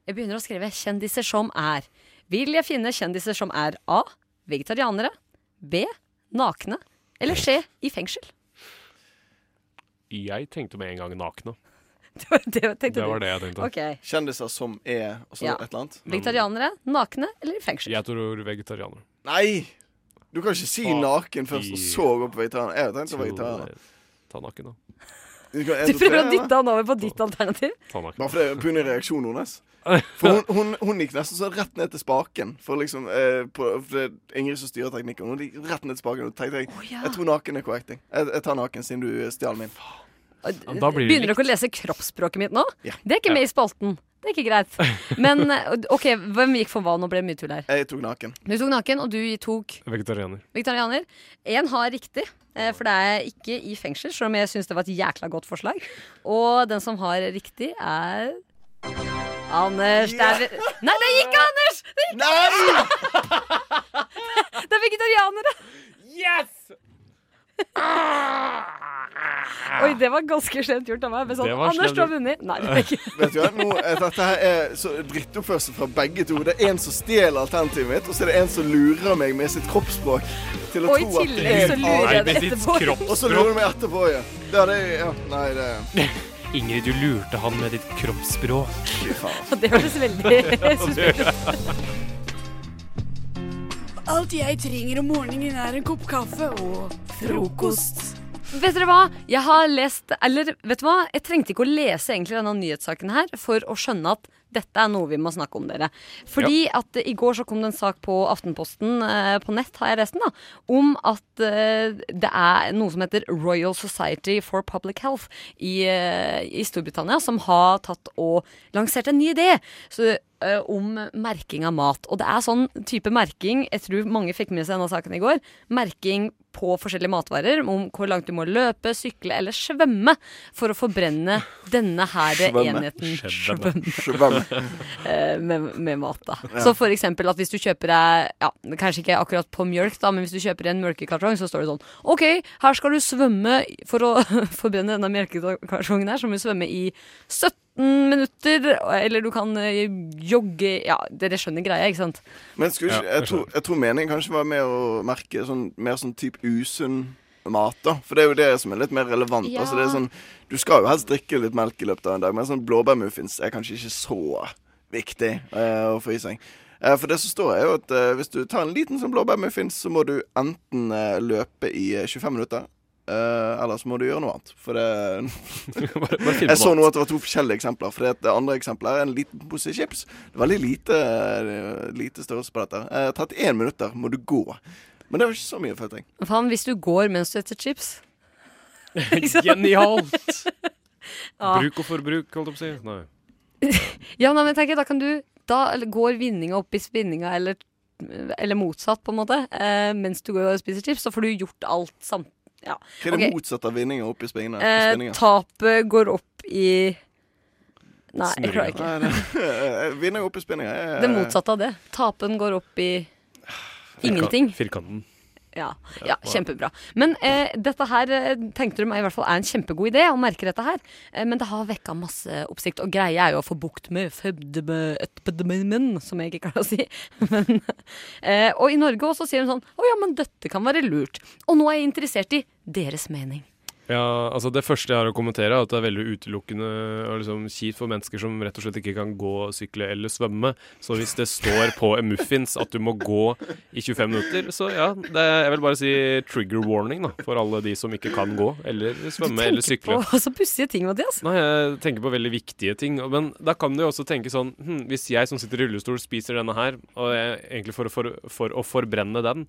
Speaker 9: Jeg begynner å skrive kjendiser som er. Vil jeg finne kjendiser som er A. Vegetarianere. B. Nakne. Eller C. I fengsel.
Speaker 11: Jeg tenkte med en gang nakne.
Speaker 9: Det var det, tenkte
Speaker 11: Det
Speaker 9: du.
Speaker 11: var det jeg tenkte.
Speaker 9: Ok.
Speaker 12: Kjendiser som er og så
Speaker 9: Ja.
Speaker 12: Altså, et eller annet.
Speaker 9: Vegetarianere, nakne eller i fengsel.
Speaker 11: Jeg tror vegetarianer.
Speaker 12: Nei! Du kan ikke si
Speaker 11: Ta
Speaker 12: naken først, og
Speaker 11: i-
Speaker 12: så gå på vegetarianer. Jeg tenkte på vegetarianer.
Speaker 11: Ta nakken, da.
Speaker 12: Du, kan-
Speaker 9: Du
Speaker 12: jeg tror
Speaker 9: prøver å
Speaker 12: det,
Speaker 9: dytte han over på ditt alternativ.
Speaker 11: Ta nakken.
Speaker 12: Bare fordi på grunn av reaksjonen hennes. For hun, hun, hun gikk nesten sånn rett ned til spaken. For liksom eh, på, for det er Ingrid som styrer teknikken. Hun gikk rett ned til spaken. Og tenkte jeg jeg tror naken er korrekt. jeg. Jeg, jeg tar naken siden du stjal min.
Speaker 11: da blir det
Speaker 9: Begynner dere å lese kroppsspråket mitt nå?
Speaker 12: Ja.
Speaker 9: Det er ikke med i spalten. Det er ikke greit. Men eh, OK, hvem gikk for hva? Nå ble det mye tull her.
Speaker 12: Jeg tok naken.
Speaker 9: Du tok naken, og du tok
Speaker 11: Vegetarianer.
Speaker 9: vegetarianer. Én har riktig, eh, for det er ikke i fengsel, selv om jeg syns det var et jækla godt forslag. Og den som har riktig, er Anders. Det er Nei, det gikk, Anders! Det gikk! Det er vegetarianere.
Speaker 11: Yes!
Speaker 9: Oi, det var ganske slemt gjort av meg. Men sånn,
Speaker 12: Det var
Speaker 9: Anders,
Speaker 12: slemt
Speaker 9: du har
Speaker 12: gjort.
Speaker 9: vunnet. Nei, det er ikke
Speaker 12: Eh, Vet du hva? Nå, eh, dette her er så drittoppførsel fra begge to. Det er en som stjeler alternativet mitt, og så er det en som lurer meg med sitt kroppsspråk. Til å
Speaker 9: Og i
Speaker 12: tro at
Speaker 9: tillegg
Speaker 12: det er
Speaker 9: så
Speaker 12: en
Speaker 9: lurer
Speaker 12: annen.
Speaker 9: jeg det Nei, med sitt etterpå. kroppsspråk.
Speaker 12: Og så lurer du meg etterpå, ja. Ja, det er ja. Nei, det
Speaker 11: Ingrid, du lurte han med ditt kroppsspråk.
Speaker 12: Fy faen.
Speaker 9: Det hørtes veldig suspekt ut.
Speaker 15: Alt jeg trenger om morgenen er en kopp kaffe og frokost.
Speaker 9: Vet dere hva? Jeg har lest Eller vet du hva? Jeg trengte ikke å lese egentlig denne nyhetssaken her for å skjønne at dette er noe vi må snakke om, dere. Fordi at eh, i går så kom det en sak på Aftenposten, eh, på nett har jeg lest den, da, om at eh, det er noe som heter Royal Society for Public Health i, eh, i Storbritannia, som har tatt og lansert en ny idé. Så eh, om merking av mat. Og det er sånn type merking, jeg tror mange fikk med seg denne saken i går, merking på forskjellige matvarer om hvor langt du må løpe, sykle eller svømme for å forbrenne denne her enheten
Speaker 12: Svømme.
Speaker 9: eh, med, med mat, da.
Speaker 12: Ja.
Speaker 9: Så for eksempel at hvis du kjøper deg ja, Kanskje ikke akkurat på mjølk, da, men hvis du kjøper en mjølkekartong, så står det sånn OK, her skal du svømme for å forbrenne denne mjølkekartongen her, så må du svømme i 17 minutter, eller du kan eh, jogge Ja, dere skjønner greia, ikke sant?
Speaker 12: Men skulle ikke,
Speaker 11: Ja,
Speaker 12: jeg, tror, jeg tror meningen kanskje var med å merke sånn, mer sånn type usunn mat, da. For det er jo det som er litt mer relevant.
Speaker 9: Ja.
Speaker 12: Altså, det er sånn, du skal jo helst drikke litt melk i løpet av en dag, men sånn blåbærmuffins er kanskje ikke så viktig eh, å få i seg. Eh, for det som står, er jo at eh, hvis du tar en liten sånn blåbærmuffins, så må du enten eh, løpe i eh, 25 minutter, Eh, ellers må du gjøre noe annet. For det
Speaker 11: bare finne på
Speaker 12: Jeg så nå
Speaker 11: noe
Speaker 12: at det var to forskjellige eksempler. For det, det andre eksempelet er en liten pose chips. Det er veldig lite, eh, lite størrelse på dette. Eh, 31 minutter må du gå. Men det var ikke så mye, følte jeg.
Speaker 9: Faen, hvis du går mens du etter chips
Speaker 11: Genialt!
Speaker 9: Ja.
Speaker 11: Bruk og forbruk, holdt jeg på å si. Nei.
Speaker 9: Ja, nei, men tenk, da kan du Da eller går vinninga opp i spinninga, eller, eller motsatt, på en måte, eh, mens du går og spiser chips. Så får du gjort alt samt... Ja.
Speaker 12: Hva er det
Speaker 9: Ok.
Speaker 12: motsatte av vinninga oppi spinninga?
Speaker 9: Eh, tapet går opp i Nei, jeg klarer ikke.
Speaker 12: ikke. Vinninga oppi spinninga er
Speaker 9: Det motsatte av det. Tapen går opp i ingenting.
Speaker 11: Firkanten.
Speaker 9: Ja, ja kjempebra. Men eh, dette her eh, tenkte du meg i hvert fall er en kjempegod idé, og merker dette her. Eh, men det har vekka masse oppsikt, og greia er jo å få bukt med fødmeøtpedemien, som jeg ikke klarer å si. Men, eh, og i Norge også sier hun sånn Å ja, men dette kan være lurt. Og nå er jeg interessert i deres mening.
Speaker 11: Ja, altså Det første jeg har å kommentere, er at det er veldig utelukkende og liksom kjipt for mennesker som rett og slett ikke kan gå, sykle eller svømme. Så hvis det står på en muffins at du må gå i 25 minutter, så ja. Det er, jeg vil bare si trigger warning da, for alle de som ikke kan gå eller svømme eller sykle.
Speaker 9: På så pussige ting, Mathias.
Speaker 11: Nei, jeg tenker på veldig viktige ting. og- Men da kan du jo også tenke sånn hm, Hvis jeg som sitter i rullestol spiser denne her, og jeg, egentlig for, å for, for å forbrenne den,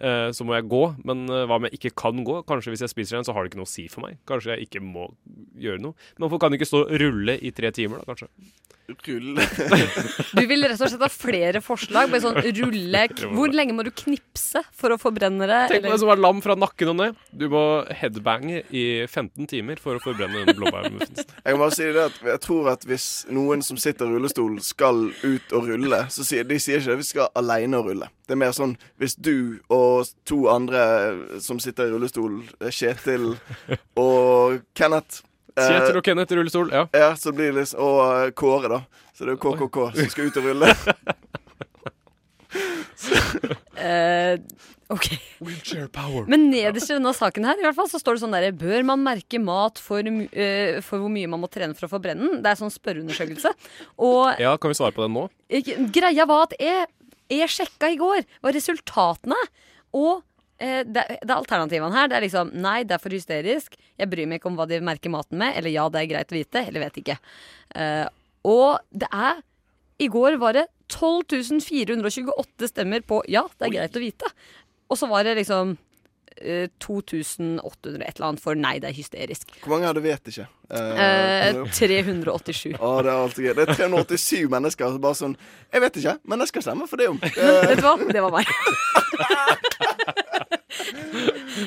Speaker 11: eh, så må jeg gå. Men eh, hva om jeg ikke kan gå? Kanskje hvis jeg spiser den, så har det ikke noe å si for meg. Kanskje jeg ikke må gjøre noe. Men hvorfor kan du ikke stå og rulle i tre timer, da, kanskje? Rulle
Speaker 9: Du vil rett og slett ha flere forslag. Bare sånn rulle k- Hvor lenge må du knipse for å forbrenne det?
Speaker 11: Tenk på
Speaker 9: eller-
Speaker 11: deg som er lam fra nakken og ned. Du må headbange i 15 timer for å forbrenne den blåbærmuffinsen.
Speaker 12: Jeg må bare si det at jeg tror at hvis noen som sitter i rullestol, skal ut og rulle, så sier de sier ikke at vi skal aleine og rulle. Det er mer sånn hvis du og to andre som sitter i rullestol, eh, Kjetil og Kenneth eh,
Speaker 11: Kjetil og Kenneth i rullestol, ja.
Speaker 12: ja så blir det liksom, og eh, Kåre, da. Så det er jo KKK som skal ut og rulle.
Speaker 9: Eh, OK. Men nederst i denne saken her i hvert fall, så står det sånn der Bør man merke mat for, mu- eh, for hvor mye man må trene for å forbrenne den? Det er sånn spørreundersøkelse. Og
Speaker 11: Ja, kan vi svare på den nå?
Speaker 9: ikke, greia var at jeg, jeg sjekka i går hva resultatene er. Og eh, det, det er alternativene her. Det er liksom nei, det er for hysterisk. Jeg bryr meg ikke om hva de merker maten med. Eller ja, det er greit å vite. Eller vet ikke. Eh, og det er I går var det 12.428 stemmer på ja, det er greit å vite. Og så var det liksom eh, 2800 et eller annet for nei, det er hysterisk.
Speaker 12: Hvor mange av dere vet ikke? Eh,
Speaker 9: Eh, 387.
Speaker 12: Å, det er alltid gøy. Det er 387 mennesker som bare sånn Jeg vet ikke, men jeg skal stemme for det om.
Speaker 9: Vet du hva? Det var meg.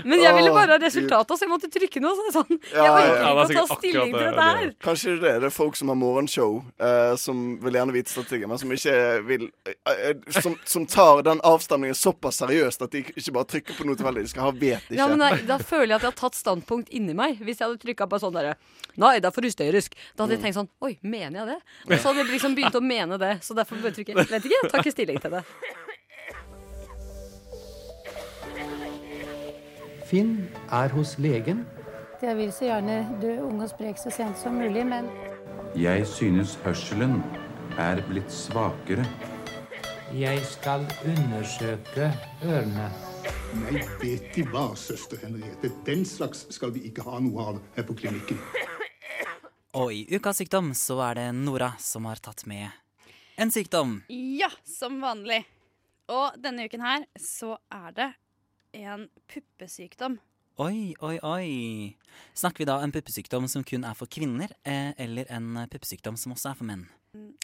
Speaker 9: Men jeg ville bare ha resultatet, så jeg måtte trykke noe. Så det er sånn, jeg orker ikke å ta stilling til dette her.
Speaker 12: Kanskje det er det er folk som har morgenshow, eh, som vil gjerne vite strategien, men som ikke vil eh, eh, som, som tar den avstemningen såpass seriøst at de ikke bare trykker på noe tilfeldig. De skal ha 'vet ikke'.
Speaker 9: Ja, men da, da føler jeg at jeg har tatt standpunkt inni meg. Hvis jeg hadde trykka på sånn derre Nei, det er for hysterisk. Da hadde jeg tenkt sånn Oi, mener jeg det? Og så hadde jeg liksom begynt å mene det. Så derfor bør jeg trykke. Vet ikke. Tar ikke stilling til det.
Speaker 16: Finn er hos legen.
Speaker 17: Jeg vil så gjerne dø ung og sprek så sent som mulig, men
Speaker 18: Jeg synes hørselen er blitt svakere.
Speaker 19: Jeg skal undersøke ørene.
Speaker 20: Nei, vet De hva, søster Henriette. Den slags skal vi ikke ha noe av her på klinikken.
Speaker 21: Og i Ukas sykdom så er det Nora som har tatt med en sykdom.
Speaker 22: Ja, som vanlig. Og denne uken her så er det en puppesykdom.
Speaker 21: Oi, oi, oi. Snakker vi da en puppesykdom som kun er for kvinner, eh, eller en puppesykdom som også er for menn?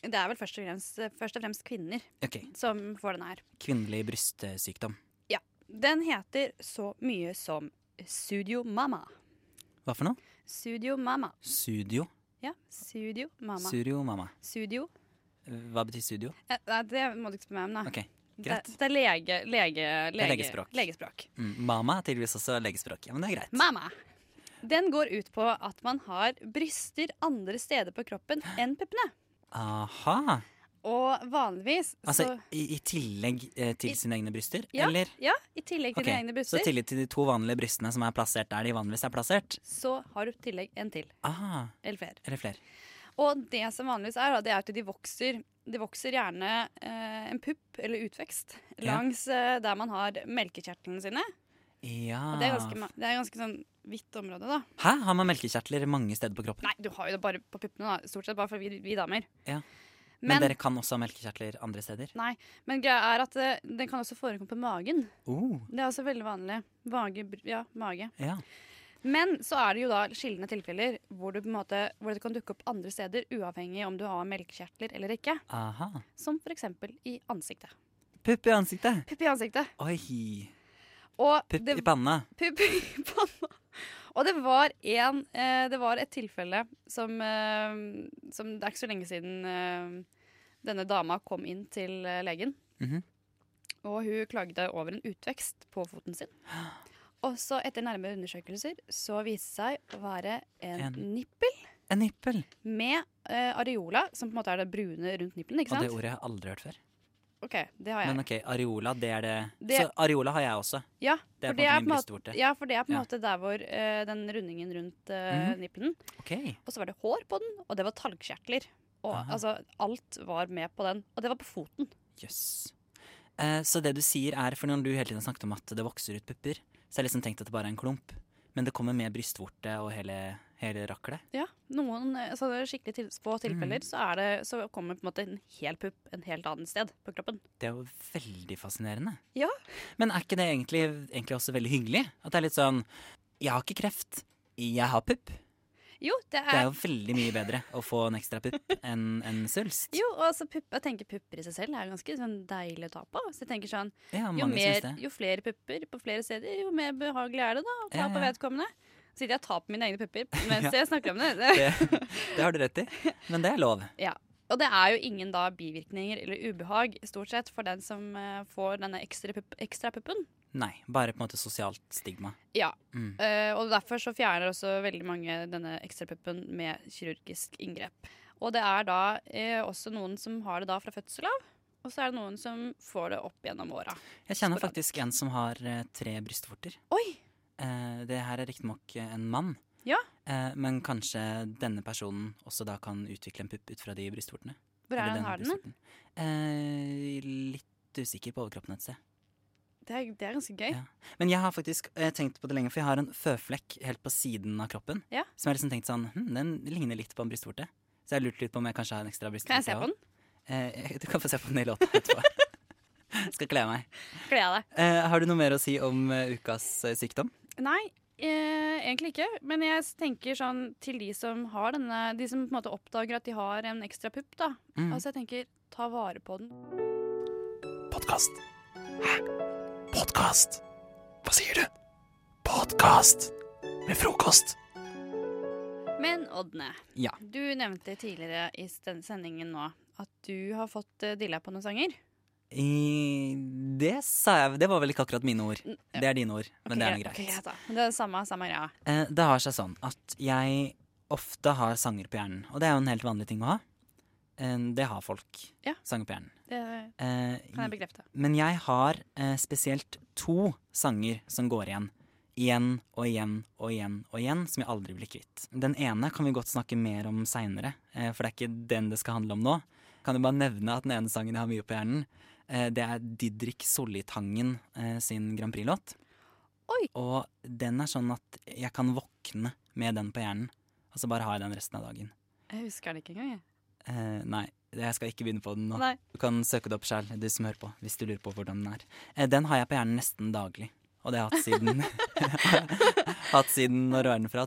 Speaker 22: Det er vel først og fremst, først og fremst kvinner
Speaker 21: Ok.
Speaker 22: som får denne her.
Speaker 21: Kvinnelig brystsykdom.
Speaker 22: Ja, Den heter så mye som Studio Mama.
Speaker 21: Hva for noe?
Speaker 22: Studio Mama.
Speaker 21: Studio.
Speaker 22: Ja, Studio Mama.
Speaker 21: Studio mamma.
Speaker 22: Studio.
Speaker 21: Hva betyr studio?
Speaker 22: Eh, Nei, det må du ikke spørre meg om, da.
Speaker 21: Ok,
Speaker 22: Ah, det,
Speaker 21: greit.
Speaker 22: det er lege, lege,
Speaker 21: Det er
Speaker 22: lege,
Speaker 21: legespråk.
Speaker 22: legespråk.
Speaker 21: Mm, mamma er tydeligvis også legespråk. Ja, men det er greit.
Speaker 22: Mamma. Den går ut på at man har bryster andre steder på kroppen enn puppene.
Speaker 21: Aha.
Speaker 22: Og vanligvis
Speaker 21: Altså
Speaker 22: så
Speaker 21: i, i tillegg eh, til sine egne bryster,
Speaker 22: ja,
Speaker 21: eller?
Speaker 22: Ja, i tillegg til
Speaker 21: Ok,
Speaker 22: dine egne bryster.
Speaker 21: Så i tillegg til de to vanlige brystene som er plassert der de vanligvis er plassert?
Speaker 22: så har du i tillegg en til.
Speaker 21: Ah,
Speaker 22: Eller flere.
Speaker 21: eller flere.
Speaker 22: Og det som vanligvis er, da, det er at de vokser De vokser gjerne eh, en pupp eller utvekst
Speaker 21: Ja.
Speaker 22: langs eh, der man har melkekjertlene sine.
Speaker 21: Ja.
Speaker 22: Og det er
Speaker 21: Ah.
Speaker 22: ganske, ma- det er ganske sånn hvitt område, da.
Speaker 21: Hæ? Har man melkekjertler mange steder på kroppen?
Speaker 22: Nei, du har jo det bare på puppene, da. Stort sett bare for vi, vi damer.
Speaker 21: Ja. Men,
Speaker 22: Men-
Speaker 21: dere kan også ha melkekjertler andre steder?
Speaker 22: Nei, men greia er at eh, den kan også forekomme på magen.
Speaker 21: Oh,
Speaker 22: Det er også veldig vanlig. Vage, br- ja, mage.
Speaker 21: ja.
Speaker 22: Men så er det jo da skillende tilfeller hvor, du på en måte, hvor det kan dukke opp andre steder, uavhengig om du har melkekjertler eller ikke.
Speaker 21: Aha.
Speaker 22: Som f.eks. i ansiktet.
Speaker 21: Pupp i ansiktet.
Speaker 22: Pupp i ansiktet.
Speaker 21: Oi.
Speaker 22: Og
Speaker 21: Pupp
Speaker 22: det-
Speaker 21: i panna.
Speaker 22: Pupp i panna. Og det var, en, eh, det var et tilfelle som, eh, som Det er ikke så lenge siden eh, denne dama kom inn til eh, legen.
Speaker 21: Mhm.
Speaker 22: Og hun klagde over en utvekst på foten sin. Og så etter nærmere undersøkelser så viste det seg å være en,
Speaker 21: En-
Speaker 22: nippel
Speaker 21: En nippel.
Speaker 22: med eh, areola, som på en måte er det brune rundt nippelen. ikke
Speaker 21: Og
Speaker 22: sant?
Speaker 21: det ordet har jeg aldri hørt før.
Speaker 22: Ok, det har jeg.
Speaker 21: Men ok, areola, det er det.
Speaker 22: Det-
Speaker 21: Så areola har jeg også.
Speaker 22: ja,
Speaker 21: Det er
Speaker 22: for
Speaker 21: på en måte min
Speaker 22: måte-
Speaker 21: brystvorte.
Speaker 22: Ja, for det er på en
Speaker 21: Ja.
Speaker 22: måte der hvor eh, den rundingen rundt eh,
Speaker 21: Mhm.
Speaker 22: nippelen.
Speaker 21: Ok.
Speaker 22: Og så var det hår på den, og det var talgkjertler. Og
Speaker 21: Aha.
Speaker 22: altså, alt var med på den. Og det var på foten.
Speaker 21: Jøss. Eh, så det du sier er, for når du hele tiden snakket om at det vokser ut pupper, så har jeg liksom tenkt at det bare er en klump. Men det kommer med brystvorte og hele, hele raklet.
Speaker 22: Ja, noen eh, sånne skikkelig til, få tilfeller,
Speaker 21: Mm.
Speaker 22: så, er det, så kommer på en måte en hel pupp en helt annet sted på kroppen.
Speaker 21: Det er jo veldig fascinerende.
Speaker 22: Ja.
Speaker 21: Men er ikke det egentlig, egentlig også veldig hyggelig? At det er litt sånn Jeg har ikke kreft, jeg har pupp.
Speaker 22: Jo, det
Speaker 21: Det er
Speaker 22: er
Speaker 21: jo veldig mye bedre å få en ekstra pupp enn en svulst.
Speaker 22: jo, og altså pupp, jeg tenker pupper i seg selv er ganske sånn deilig å ta på. Så jeg tenker sånn,
Speaker 21: Ja,
Speaker 22: jo,
Speaker 21: mange syns
Speaker 22: mer,
Speaker 21: det.
Speaker 22: jo flere pupper på flere steder, jo mer behagelig er det da å ta
Speaker 21: Ja,
Speaker 22: på
Speaker 21: ja.
Speaker 22: vedkommende. Så sitter jeg og tar på mine egne pupper mens
Speaker 21: Ja.
Speaker 22: jeg snakker om det.
Speaker 21: Det, det har du rett i, men det er lov.
Speaker 22: Ja. Og det er jo ingen da bivirkninger eller ubehag stort sett for den som eh, får denne ekstra, pupp, ekstra puppen.
Speaker 21: Nei, bare på en måte sosialt stigma.
Speaker 22: Ja.
Speaker 21: Mm.
Speaker 22: Eh, og derfor så fjerner også veldig mange denne ekstra puppen med kirurgisk inngrep. Og det er da eh, også noen som har det da fra fødsel av, og så er det noen som får det opp gjennom åra.
Speaker 21: Jeg kjenner faktisk en som har eh, tre brystvorter.
Speaker 22: Oi!
Speaker 21: Eh, det her er riktignok eh, en mann,
Speaker 22: Ja.
Speaker 21: eh, men kanskje denne personen også da kan utvikle en pupp ut fra de brystvortene.
Speaker 22: Hvor er
Speaker 21: Eller
Speaker 22: den
Speaker 21: denne
Speaker 22: har den? da?
Speaker 21: brystvorten. Eh, litt usikker på overkroppen et sted.
Speaker 22: Det er, det er ganske gøy.
Speaker 21: Men jeg har faktisk eh, tenkt på det lenge, for jeg har en føflekk helt på siden av kroppen.
Speaker 22: Ja.
Speaker 21: Som jeg har liksom tenkt sånn, hm, den ligner litt på en brystvorte. Så jeg har lurt litt på om jeg kanskje har en ekstra brystvorte.
Speaker 22: Kan jeg se på den?
Speaker 21: Eh, jeg- du kan få se på den i låta etterpå. Skal kle meg.
Speaker 22: Gleder jeg deg.
Speaker 21: Eh, har du noe mer å si om eh, ukas eh, sykdom?
Speaker 22: Nei, eh, egentlig ikke. Men jeg s- tenker sånn til de som har denne De som på en måte oppdager at de har en ekstra pupp, da.
Speaker 21: Mm.
Speaker 22: Altså jeg tenker, ta vare på den.
Speaker 1: Podkast. Hæ? Podkast? Hva sier du? Podkast med frokost.
Speaker 22: Men Ådne,
Speaker 21: Ja.
Speaker 22: du nevnte tidligere i s- den sendingen nå at du har fått eh, dilla på noen sanger.
Speaker 21: I, det sa jeg Det var vel ikke akkurat mine ord. Det er dine ord, men det er
Speaker 22: Ok,
Speaker 21: noe greit.
Speaker 22: ok, greit da. Men det er samme, samme greia.
Speaker 21: Eh, Det har seg sånn at jeg ofte har sanger på hjernen, og det er jo en helt vanlig ting å ha. Eh, Det har folk.
Speaker 22: Ja.
Speaker 21: Sanger på hjernen.
Speaker 22: Det
Speaker 21: Eh,
Speaker 22: kan jeg bekrefte.
Speaker 21: Men jeg har eh, spesielt to sanger som går igjen. Igjen og igjen og igjen og igjen, som jeg aldri blir kvitt. Den ene kan vi godt snakke mer om seinere, eh, for det er ikke den det skal handle om nå. Kan jo bare nevne at den ene sangen jeg har mye på hjernen, eh, det er Didrik Sollitangen eh, sin Grand Prix-låt. Og den er sånn at jeg kan våkne med den på hjernen, og så bare har jeg den resten av dagen.
Speaker 22: Jeg husker det ikke engang. jeg.
Speaker 21: Eh, nei, jeg skal ikke begynne på den nå.
Speaker 22: Nei.
Speaker 21: Du kan søke det opp sjøl, du som hører på, hvis du lurer på hvordan den er. Eh, den har jeg på hjernen nesten daglig, og det har jeg hatt siden Hatt siden når var den fra?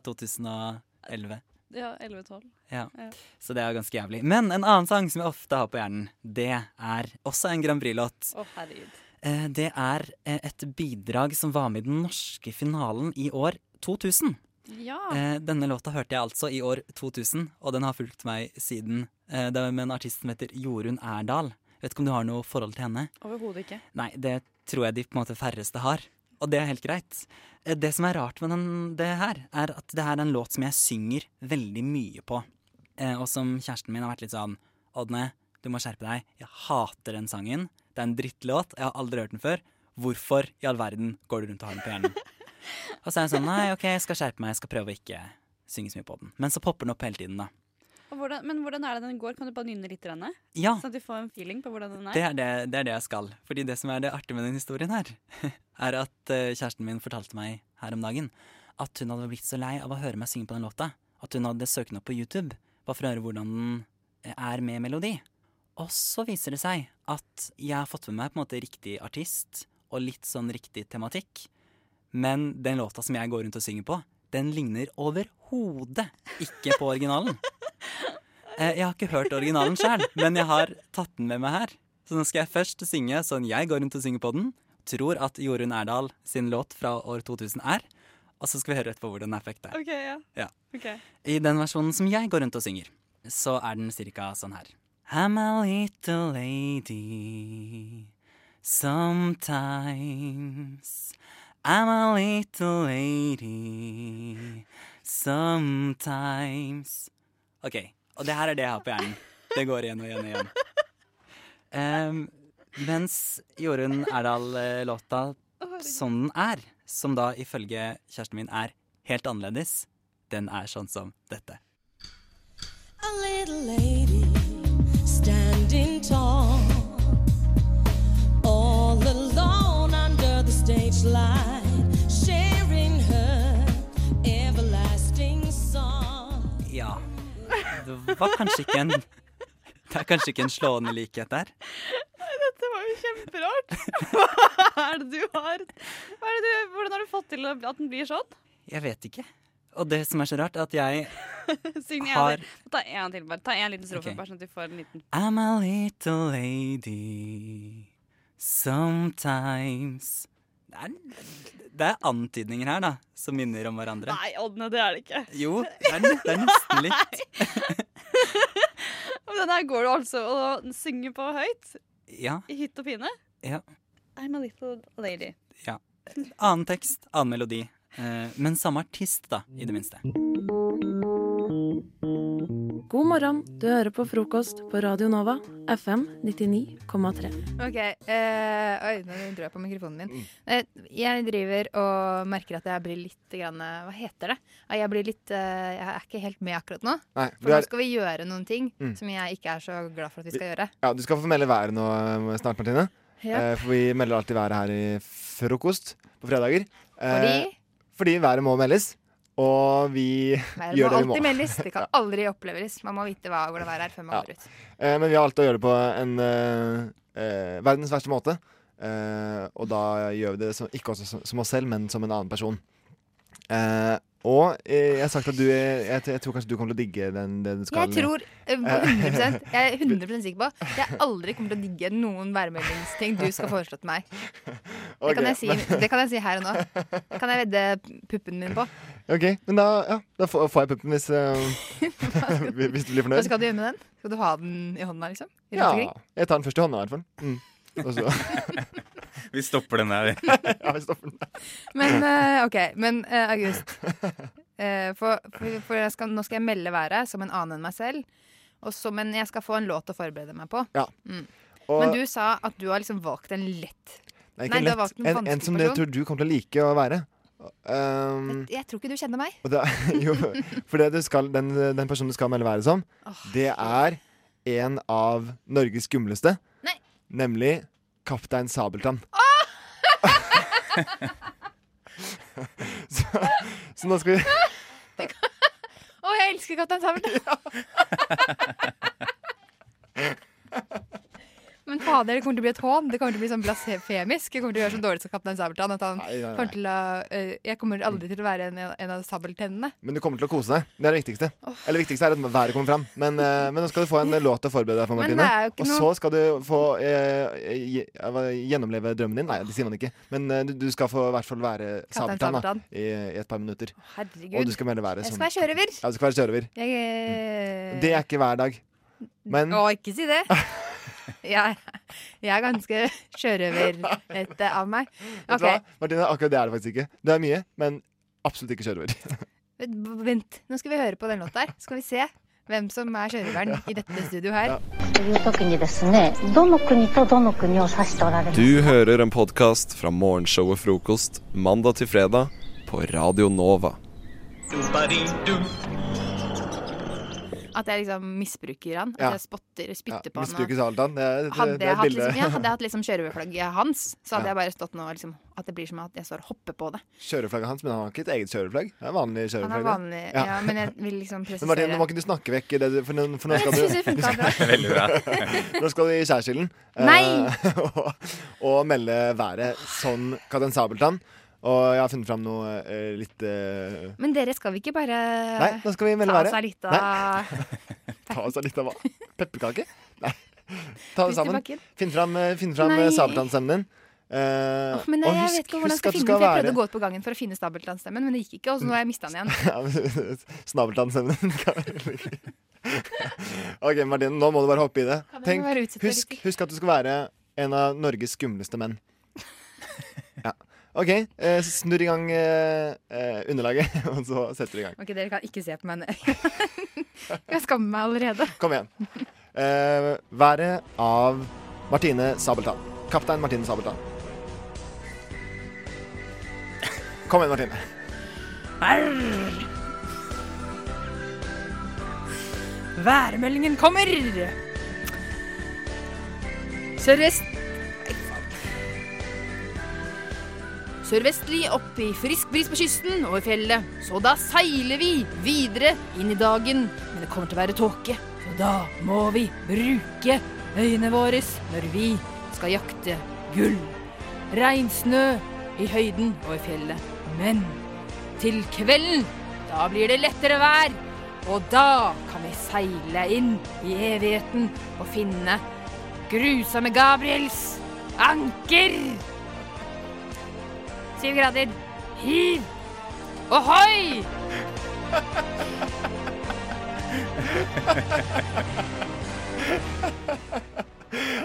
Speaker 21: 2011.
Speaker 22: Ja, 11-12.
Speaker 21: Ja.
Speaker 22: Ja.
Speaker 21: Så det er jo ganske jævlig. Men en annen sang som jeg ofte har på hjernen, det er også en Grand Prix-låt.
Speaker 22: Å, herregud.
Speaker 21: Eh, Det er eh, et bidrag som var med i den norske finalen i år 2000.
Speaker 22: Ja.
Speaker 21: Eh, denne låta hørte jeg altså i år 2000, og den har fulgt meg siden. Eh, det er med en artist som heter Jorunn Erdal. Vet ikke om du har noe forhold til henne?
Speaker 22: Overhodet ikke.
Speaker 21: Nei, det tror jeg de på en måte færreste har. Og det er helt greit. Eh, Det som er rart med den, det her, er at det her er en låt som jeg synger veldig mye på. Eh, og som kjæresten min har vært litt sånn Odne, du må skjerpe deg. Jeg hater den sangen. Det er en drittlåt. Jeg har aldri hørt den før. Hvorfor i all verden går du rundt og har den på hjernen? og så er jeg sånn Nei, OK, jeg skal skjerpe meg. Jeg skal prøve å ikke synge så mye på den. Men så popper den opp hele tiden, da.
Speaker 22: Og hvordan, men hvordan er det den går? Kan du bare nynne litt? Renne?
Speaker 21: Ja.
Speaker 22: Sånn at vi får en feeling på hvordan den er?
Speaker 21: Det er det, det er det jeg skal. Fordi det som er det artige med den historien her, er at eh, kjæresten min fortalte meg her om dagen at hun hadde blitt så lei av å høre meg synge på den låta at hun hadde søkt den opp på YouTube bare for å høre hvordan den eh, er med melodi. Og så viser det seg at jeg har fått med meg på en måte riktig artist og litt sånn riktig tematikk. Men den låta som jeg går rundt og synger på, den ligner overhodet ikke på originalen. Eh, Jeg har ikke hørt originalen sjøl, men jeg har tatt den med meg her. Så nå skal jeg først synge sånn jeg går rundt og synger på den. Tror at Jorunn Erdal sin låt fra år 2000 er. Og så skal vi høre etterpå hvordan den er fucked.
Speaker 22: Ok, ja.
Speaker 21: Ja.
Speaker 22: Ok.
Speaker 21: I den versjonen som jeg går rundt og synger, så er den cirka sånn her. I'm a little lady sometimes. I'm a little lady sometimes. OK. Og det her er det jeg har på hjernen. Det går igjen og igjen og igjen. Em, mens Jorunn Erdal-låta som Sånn den er, som da ifølge kjæresten min er helt annerledes, den er sånn som dette.
Speaker 3: A little lady standing tall, all alone under the stage light, sharing her everlasting song.
Speaker 21: Ja. Det var kanskje ikke en Det er kanskje ikke en slående likhet der.
Speaker 22: Dette var jo kjemperart. Hva er det du har Hva er det du, Hvordan har du fått til at den blir sånn?
Speaker 21: Jeg vet ikke. Og det som er så rart, er at jeg
Speaker 22: Syng
Speaker 21: Har-
Speaker 22: en til. Ta en til, bare. Ta en liten strofe,
Speaker 21: Ok.
Speaker 22: bare sånn at vi får en liten
Speaker 21: I'm a little lady sometimes Det er, det er antydninger her, da, som minner om hverandre.
Speaker 22: Nei, Ådne, det er det ikke.
Speaker 21: Jo, det er, det er nesten litt.
Speaker 22: Og den her går du altså og synger på høyt.
Speaker 21: Ja.
Speaker 22: I hytt og pine.
Speaker 21: ja.
Speaker 22: I'm a little lady.
Speaker 21: Ja. Annen tekst, annen melodi. Eh, men samme artist, da, i det minste.
Speaker 6: God morgen, du hører på frokost på Radio Nova, FM 99,3.
Speaker 23: Ok, eh, Oi, nå dro jeg på mikrofonen min.
Speaker 24: Mm.
Speaker 23: Eh, jeg driver og merker at jeg blir litt grann, eh, Hva heter det? At Jeg, blir litt, eh, jeg er ikke helt med akkurat nå.
Speaker 24: Nei,
Speaker 23: for
Speaker 24: du er-
Speaker 23: nå skal vi gjøre noen ting
Speaker 24: Mm.
Speaker 23: som jeg ikke er så glad for at vi skal gjøre.
Speaker 24: Ja, Du skal få melde været nå eh, snart, Martine.
Speaker 23: Ja.
Speaker 24: Eh, for vi melder alltid været her i frokost på fredager. Eh,
Speaker 23: Fordi?
Speaker 24: fordi været må meldes. Og vi gjør
Speaker 23: Været må
Speaker 24: det vi
Speaker 23: alltid
Speaker 24: må.
Speaker 23: meldes. Det kan aldri oppleves. Man må vite hva hvordan været er før man
Speaker 24: Ja.
Speaker 23: går ut.
Speaker 24: Eh, men vi har valgt å gjøre det på en eh, eh, verdens verste måte. Eh, og da gjør vi det som, ikke også som, som oss selv, men som en annen person. Eh, og eh, jeg har sagt at du eh, jeg, jeg tror kanskje du kommer til å digge den, den
Speaker 23: Jeg
Speaker 24: skalaen.
Speaker 23: tror eh,
Speaker 24: Eh,
Speaker 23: 100 Jeg er 100 sikker på at jeg aldri kommer til å digge noen værmeldingsting du skal foreslå til meg. Det
Speaker 24: Ok,
Speaker 23: kan, jeg si,
Speaker 24: men-
Speaker 23: det kan jeg si her og nå. Det kan jeg vedde puppen min på.
Speaker 24: OK, men da, ja, da får, får jeg puppen hvis, eh, hvis du blir
Speaker 23: Hva
Speaker 24: fornøyd.
Speaker 23: skal du gjøre med den? Skal du ha den i hånda, liksom? Rundt
Speaker 24: Ja,
Speaker 23: omkring?
Speaker 24: jeg tar den først i hånda i hvert fall. Mm. Og så-
Speaker 25: Vi stopper den her.
Speaker 24: ja, vi stopper den.
Speaker 23: Men eh, OK. Men eh, August. Eh, for for, for jeg skal, nå skal jeg melde været som en annen enn meg selv. Og så, men jeg skal få en låt å forberede meg på.
Speaker 24: Ja.
Speaker 23: Mm.
Speaker 24: Og-
Speaker 23: men du sa at du har liksom valgt en lett
Speaker 24: Nei, ikke
Speaker 23: Nei, du har
Speaker 24: lett.
Speaker 23: valgt en
Speaker 24: en, en
Speaker 23: vanskelig
Speaker 24: som jeg
Speaker 23: person.
Speaker 24: tror du kommer til å like å være. Um,
Speaker 23: Jeg tror ikke du kjenner meg.
Speaker 24: og det, er- jo, for det du skal, den, den personen du skal melde været som, det er en av Norges skumleste. Nemlig Kaptein Sabeltann. så, så nå skal vi
Speaker 23: Å, jeg elsker Kaptein Sabeltann! Men fader, det kommer til å bli et hån. Det kommer til å bli sånn blasfemisk. Jeg kommer til å gjøre så dårlig som Kaptein Sabeltann. At han
Speaker 24: Nei, nei, nei.
Speaker 23: kommer til å, eh, jeg kommer aldri til å være en, en av sabeltennene.
Speaker 24: Men du kommer til å kose deg. Det er det viktigste. Eller det viktigste er at været kommer fram. Men, eh, men nå skal du få en låt å forberede deg for,
Speaker 23: Men det
Speaker 24: Martine.
Speaker 23: er jo ikke
Speaker 24: Og
Speaker 23: noe-
Speaker 24: så skal du få eh, eh, hva, gjennomleve drømmen din. Nei, det sier man ikke. Men eh, du, du skal få i hvert fall være
Speaker 23: Kaptein
Speaker 24: Sabeltann da,
Speaker 23: Sabeltann.
Speaker 24: i, i et par minutter.
Speaker 23: Herregud.
Speaker 24: Og du skal melde været
Speaker 23: Jeg
Speaker 24: som
Speaker 23: skal være kjørøver.
Speaker 24: Ja, du skal være kjørøver.
Speaker 23: Jeg, eh,
Speaker 24: Det er ikke hver dag. Men
Speaker 23: Å, ikke si det! Jeg, jeg er ganske sjørøverete av meg.
Speaker 24: vet du
Speaker 23: OK,
Speaker 24: hva, Martine, akkurat det er det faktisk ikke. Det er mye, men absolutt ikke kjørøver.
Speaker 23: v- vent. Nå skal vi høre på den låta her. Skal vi se hvem som er sjørøveren i dette studio her.
Speaker 26: という時にですねどの国とどの国を指しておられます
Speaker 1: Du hører en podkast fra morgenshowet Frokost mandag til fredag på Radio Nova.
Speaker 23: At jeg liksom misbruker han.
Speaker 24: Ja.
Speaker 23: At jeg spotter, spytter på han. og-
Speaker 24: Misbrukes alt annet. Det, er- det, det,
Speaker 23: Hadde
Speaker 24: det
Speaker 23: jeg,
Speaker 24: er
Speaker 23: hatt,
Speaker 24: bildet.
Speaker 23: liksom, ja, hadde jeg hatt liksom kjøreflagget hans, så hadde
Speaker 24: Ja.
Speaker 23: jeg bare stått nå liksom, At det blir som at jeg står og hopper på det.
Speaker 24: Kjøreflagget hans, men han har ikke et eget kjøreflagg. Det er vanlig
Speaker 23: Han
Speaker 24: kjøreflagg.
Speaker 23: er
Speaker 24: det.
Speaker 23: vanlig, ja. men jeg vil liksom
Speaker 24: Men Martin, nå
Speaker 23: presisere
Speaker 24: må ikke du snakke vekk det, du- for, nå- for nå
Speaker 23: Jeg
Speaker 24: skal du
Speaker 23: synes det funket bra.
Speaker 24: Veldig bra. Nå skal du i skjærsilden eh,
Speaker 23: Nei!
Speaker 24: og, og melde været som Kaptein Sabeltann. Og jeg har funnet fram noe eh, litt eh,
Speaker 23: Men dere skal vi ikke bare
Speaker 24: Nei, nå skal vi melde
Speaker 23: ta
Speaker 24: været.
Speaker 23: seg litt av
Speaker 24: Nei. Ta oss litt av hva? Pepperkake? Nei. Ta det
Speaker 23: Pust i
Speaker 24: sammen.
Speaker 23: bakken.
Speaker 24: Finn fram, eh, finn fram
Speaker 23: Nei.
Speaker 24: eh, sabeltannstemmen din. Eh,
Speaker 23: Men
Speaker 24: og
Speaker 23: jeg
Speaker 24: husk-
Speaker 23: vet ikke hvordan jeg
Speaker 24: husk
Speaker 23: skal
Speaker 24: at du
Speaker 23: finne den, for jeg
Speaker 24: være-
Speaker 23: prøvde å gå ut på gangen for å finne stabeltannstemmen, men det gikk ikke, og så nå har jeg mista den igjen.
Speaker 24: Ja, men Snabeltannsevnen kan være like. OK, Martine, nå må du bare hoppe i det.
Speaker 23: Kan jeg
Speaker 24: Tenk,
Speaker 23: bare utsette
Speaker 24: husk, husk at du skal være en av Norges skumleste menn. Ja. OK, eh, snurr i gang eh, eh, underlaget, og så setter du i gang.
Speaker 23: Ok, Dere kan ikke se på meg nå. Jeg skammer meg allerede.
Speaker 24: Kom igjen. Eh, været av Martine Sabeltann. Kaptein Martine Sabeltann. Kom igjen, Martine.
Speaker 23: Værmeldingen kommer! Sørvest... Nei, faen. Sørvestlig opp i frisk bris på kysten over fjellet. Så da seiler vi videre inn i dagen. Men det kommer til å være tåke. Så da må vi bruke øynene våre når vi skal jakte gull. Regnsnø i høyden over fjellet. Men til kvelden, da blir det lettere vær. Og da kan vi seile inn i evigheten og finne grusomme Gabriels anker. Syv grader. Hiv. Ohoi!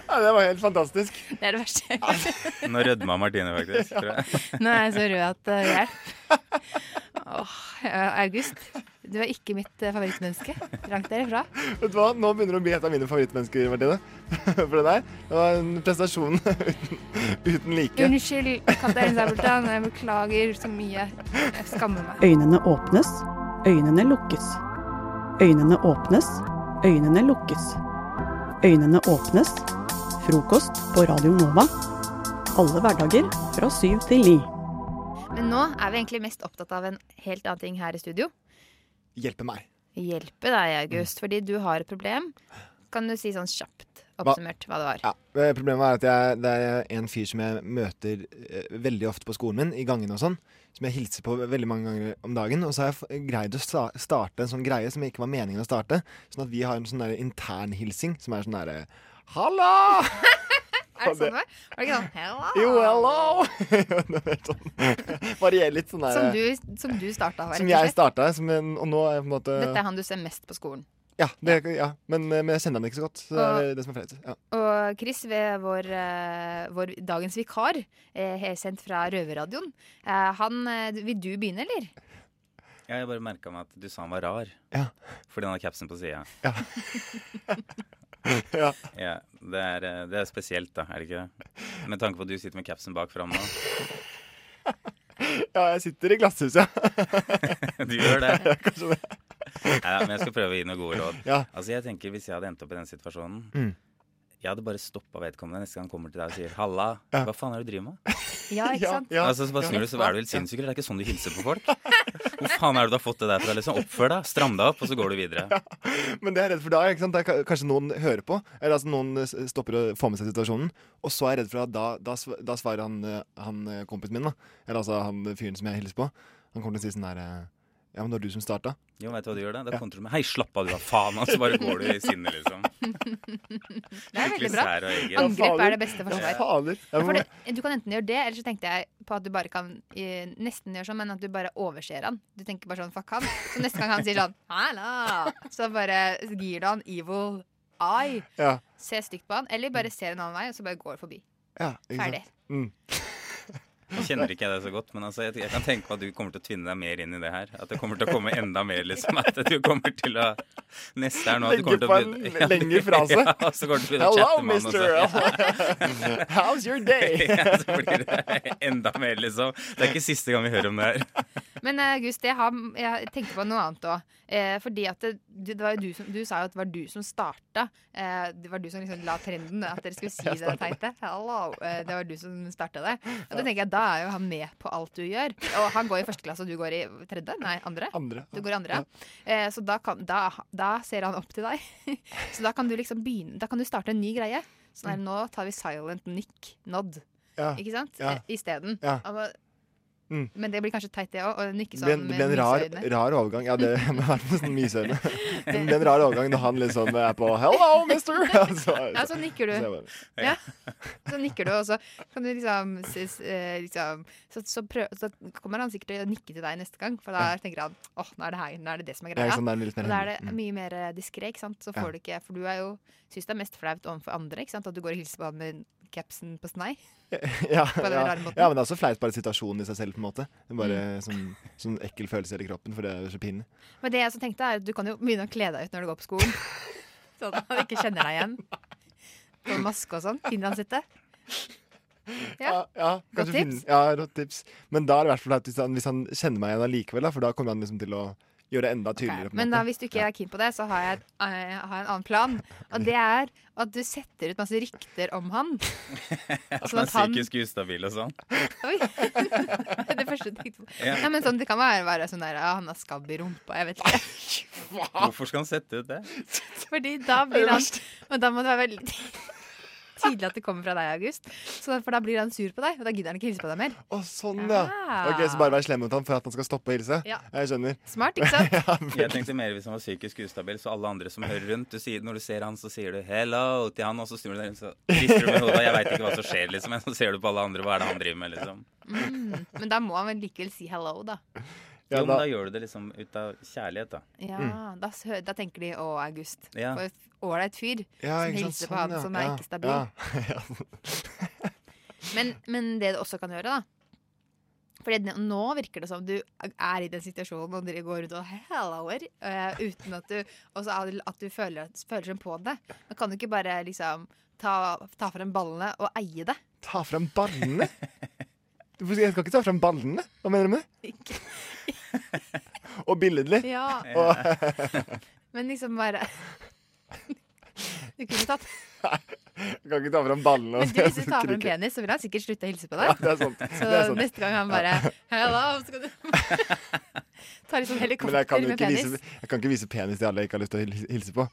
Speaker 24: Ja, det var helt fantastisk.
Speaker 23: Det er det verste jeg har gjort.
Speaker 25: Ah, Nå rødma Martine faktisk. Tror jeg.
Speaker 23: Nå er jeg så rød at uh, hjelp. Åh, eh, August, du er ikke mitt eh, favorittmenneske. Langt derifra.
Speaker 24: Vet du hva, Nå begynner du å bli et av mine favorittmennesker, Martine. For det der det var en prestasjon uten, uten like.
Speaker 23: Unnskyld, kaptein Sabeltann. Jeg beklager så mye. Jeg skammer meg.
Speaker 2: Øynene åpnes, øynene lukkes. Øynene åpnes, øynene lukkes. Øynene åpnes. Frokost på Radio Nova. Alle hverdager fra syv til ni.
Speaker 23: Men nå er vi egentlig mest opptatt av en helt annen ting her i studio.
Speaker 24: Hjelpe meg.
Speaker 23: Hjelpe deg, August, fordi du har et problem. Kan du si sånn kjapt oppsummert hva det var?
Speaker 24: Ja, eh, Problemet er at jeg, det er en fyr som jeg møter eh, veldig ofte på skolen min, i gangen og sånn, som jeg hilser på veldig mange ganger om dagen. Og så har jeg f- greid å sta- starte en sånn greie som ikke var meningen å starte. Sånn at vi har en sånn der internhilsing som er sånn derre Halla!
Speaker 23: Er det sånn det var? Var det ikke sånn hello?
Speaker 24: Jo, hello! Det er sånn- Varierer litt sånn der
Speaker 23: Som du, som du starta, rett
Speaker 24: som
Speaker 23: og
Speaker 24: jeg eh.
Speaker 23: slett.
Speaker 24: starta, som en- og nå er jeg på en måte
Speaker 23: Dette er han du ser mest på skolen.
Speaker 24: Ja, det, ja. Men, eh, men jeg kjenner han ikke så godt. Så det er det som er flaut. Ja.
Speaker 23: Og Chris, ved vår, eh, vår dagens vikar, eh, helt sendt fra Røverradioen, eh, han eh, Vil du begynne, eller?
Speaker 25: Ja, jeg bare merka meg at du sa han var rar. Fordi han har capsen på sida.
Speaker 24: Ja.
Speaker 25: Ja, det, er, eh, det er spesielt, da. Er det ikke det? Med tanke på at du sitter med capsen bak fram nå.
Speaker 24: ja, jeg sitter i glasshuset.
Speaker 25: Du gjør det.
Speaker 24: Ja, kanskje det.
Speaker 25: Nei, men jeg skal prøve å gi noen gode råd.
Speaker 24: Ja.
Speaker 25: Altså, jeg tenker Hvis jeg hadde endt opp i den situasjonen
Speaker 24: Mm.
Speaker 25: Jeg hadde bare stoppa vedkommende neste gang han kommer til deg og sier 'halla,
Speaker 24: Ja.
Speaker 25: hva faen er det du driver med?'
Speaker 23: Ja, ikke sant?
Speaker 25: altså, så bare snur du, så er du helt sinnssyk. eller? Det er ikke sånn du hilser på folk. Hvor faen er det du har fått det der fra? Liksom? Oppfør deg, stram deg opp, og så går du videre.
Speaker 24: Men det er jeg redd for da. Ikke sant? Det er ka- kanskje noen hører på. Eller altså noen eh, s- stopper og får med seg situasjonen. Og så er jeg redd for at da, da, sv- da svarer han, eh, han eh, kompisen min, da. Eller altså han fyren som jeg hilser på. Han kommer til å si sånn der eh, Ja, men det var du som starta.
Speaker 25: Jo, vet du hva du gjør da? Da
Speaker 24: Ja.
Speaker 25: kontrer du med 'hei, slapp av, du, hva faen', og så bare går du i sinne, liksom.
Speaker 23: Det er veldig
Speaker 25: Skikkelig
Speaker 23: bra.
Speaker 25: sær og egen.
Speaker 23: Angrep er det beste forsvar.
Speaker 25: Ja, fader.
Speaker 24: Ja,
Speaker 23: Ja, for
Speaker 24: men-
Speaker 23: det, du kan enten gjøre det, eller så tenkte jeg på at du bare kan eh, nesten gjøre sånn, men at du bare overser han. Du tenker bare sånn fuck han. Så neste gang han sier sånn halla, så bare gir du han evil eye.
Speaker 24: Ja.
Speaker 23: Se stygt på han, eller bare ser en annen vei, og så bare går forbi.
Speaker 24: ja ikke
Speaker 23: Ferdig.
Speaker 24: sant? Mm.
Speaker 25: Jeg kjenner ikke jeg deg så godt, men altså, jeg, jeg kan tenke meg at du kommer til å tvinne deg mer inn i det her. At det kommer til å komme enda mer, liksom. At du kommer til å Neste er nå at
Speaker 24: Legge
Speaker 25: du kommer til
Speaker 24: på
Speaker 25: å
Speaker 24: en
Speaker 25: begynne-
Speaker 24: lengre frase.
Speaker 25: Ja, og så kommer du til å begynne å
Speaker 24: Hello,
Speaker 25: chatte med han, og så-
Speaker 24: mister. How's your day?
Speaker 25: ja, så blir det enda mer, liksom. Det er ikke siste gang vi hører om det her.
Speaker 23: Men eh, August, jeg, har, jeg tenkte på noe annet òg. Eh, fordi at det, det var jo du, som, du sa jo at det var du som starta. Eh, det var du som liksom la trenden, at dere skulle si
Speaker 9: Jeg
Speaker 23: det
Speaker 9: startet.
Speaker 23: teite. Hello. Eh, det var du som starta det. Og da tenker jeg, da er jo han med på alt du gjør. Og han går i første klasse, og du går i tredje? Nei, andre?
Speaker 24: Andre.
Speaker 23: Du går i andre. Eh, så da, kan, da, da ser han opp til deg. så da kan du liksom begynne, da kan du starte en ny greie. Sånn her, nå tar vi silent nick, nod.
Speaker 24: Mm. Ja.
Speaker 23: Ikke sant?
Speaker 24: Ja.
Speaker 23: Eh, Isteden.
Speaker 24: Ja.
Speaker 23: Han var-
Speaker 24: Mm.
Speaker 23: Men det blir kanskje teit, det òg. Å nikke
Speaker 24: Det
Speaker 23: sånn
Speaker 24: ble en, det ble en
Speaker 23: med
Speaker 24: rar,
Speaker 23: myseøyne.
Speaker 24: rar overgang. Ja, det må være nesten myseøyne. Det ble en rar overgang når han liksom er på 'hello, mister'. Ja, så,
Speaker 23: Ja, så nikker du.
Speaker 24: så jeg bare-
Speaker 23: Ja. Så nikker du, og så kan du liksom, s- s- eh, liksom så, så, prøv, så kommer han sikkert til å nikke til deg neste gang, for da tenker han åh, nå er det her, nå er det det som
Speaker 24: Ja,
Speaker 23: er
Speaker 24: ikke
Speaker 23: greia.
Speaker 24: sant, da er det litt mer
Speaker 23: og da er
Speaker 24: hemmelig. Mm.
Speaker 23: det mye mer eh, diskré, ikke sant. Så
Speaker 24: Ja.
Speaker 23: får du ikke For du er jo syns det er mest flaut overfor andre, ikke sant, at du går og hilser på han med capsen på snei.
Speaker 24: ja,
Speaker 23: På den
Speaker 24: ja.
Speaker 23: rare måten.
Speaker 24: ja, men det er også flaut bare situasjonen i seg selv, på en måte. Bare
Speaker 23: Mm.
Speaker 24: sånn, sånn ekkel følelse i hele kroppen, for det er jo så pinlig.
Speaker 23: Men det jeg så tenkte, er at du kan jo begynne å kle deg ut når du går på skolen. Sånn at han ikke kjenner deg igjen. Sånn maske og sånn. Finlandshette. Ja.
Speaker 24: ja
Speaker 23: Godt
Speaker 24: Kanskje
Speaker 23: tips.
Speaker 24: finne- Ja, rått tips. Men da er det i hvert fall flaut hvis, han- hvis han kjenner meg igjen allikevel, da, for da kommer han liksom til å gjøre det enda tydeligere. på en
Speaker 23: Men
Speaker 24: måte.
Speaker 23: da, hvis du ikke er keen på det, så har jeg, eh, har jeg en annen plan. Og det er at du setter ut masse rykter om han.
Speaker 25: At
Speaker 23: Sånn
Speaker 25: man
Speaker 23: at
Speaker 25: er
Speaker 23: han-
Speaker 25: psykisk ustabil og sånn.
Speaker 23: Oi! det første du tenkte på.
Speaker 25: Ja.
Speaker 23: Nei, men sånn, det kan være, være sånn der ja, Han har skabb i rumpa, jeg vet ikke.
Speaker 25: Hvorfor skal han sette ut det?
Speaker 23: Fordi da
Speaker 25: Det er
Speaker 23: blir
Speaker 25: det
Speaker 23: han Men da må det være veldig tydelig at det kommer fra deg, August. Så, for da blir han sur på deg, og da gidder han ikke hilse på deg mer.
Speaker 24: Å, sånn, ja. Ok, Så bare vær slem mot han for at han skal stoppe å hilse?
Speaker 23: Ah. Ja.
Speaker 24: Jeg skjønner.
Speaker 23: Smart, ikke sant?
Speaker 25: Jeg tenkte mer hvis han var psykisk ustabil, så alle andre som hører rundt du sier, Når du ser han, så sier du 'hello' til han, og så snur du deg rundt, så rister du med hodet. Jeg veit ikke hva som skjer, liksom. Men så ser du på alle andre, hva er det han driver med, liksom.
Speaker 23: Mm. Men da må han vel likevel si hello, da.
Speaker 25: Jo,
Speaker 24: Ja,
Speaker 25: men
Speaker 24: da-
Speaker 25: da gjør du det liksom ut av kjærlighet, da.
Speaker 23: Ja,
Speaker 25: Mm.
Speaker 23: da, s- da tenker de 'Å, August'.
Speaker 25: Ja.
Speaker 23: For et ålreit fyr
Speaker 25: Ja,
Speaker 23: som
Speaker 25: ikke sant,
Speaker 23: hilser på
Speaker 25: sånn,
Speaker 23: han
Speaker 25: ja.
Speaker 23: som er
Speaker 25: Ja,
Speaker 23: ikke stabil. men, men det du også kan gjøre, da Fordi n- nå virker det som du er i den situasjonen og dere går rundt og helloer eh, uten at du, og så er det at du føler, føler seg på det. Men kan du ikke bare liksom ta, ta frem ballene og eie det?
Speaker 24: Ta fram ballene? Du får- Jeg skal ikke ta fram ballene? Hva mener du med det? Og billedlig.
Speaker 23: Ja.
Speaker 24: Og
Speaker 23: Men liksom bare Du kunne tatt
Speaker 24: jeg kan ikke ta fram ballene. altså. og
Speaker 23: Men du,
Speaker 24: så
Speaker 23: hvis du tar
Speaker 24: skrike.
Speaker 23: frem penis, så vil han sikkert slutte å hilse på deg.
Speaker 24: Ja, det er sant.
Speaker 23: Så
Speaker 24: Det er sant.
Speaker 23: neste gang han bare Hello, så kan du ta litt sånn
Speaker 24: Men jeg kan,
Speaker 23: helikopter
Speaker 24: jo
Speaker 23: med
Speaker 24: ikke
Speaker 23: penis.
Speaker 24: vise, jeg kan ikke vise penis til alle jeg ikke har lyst til å hil- hilse på.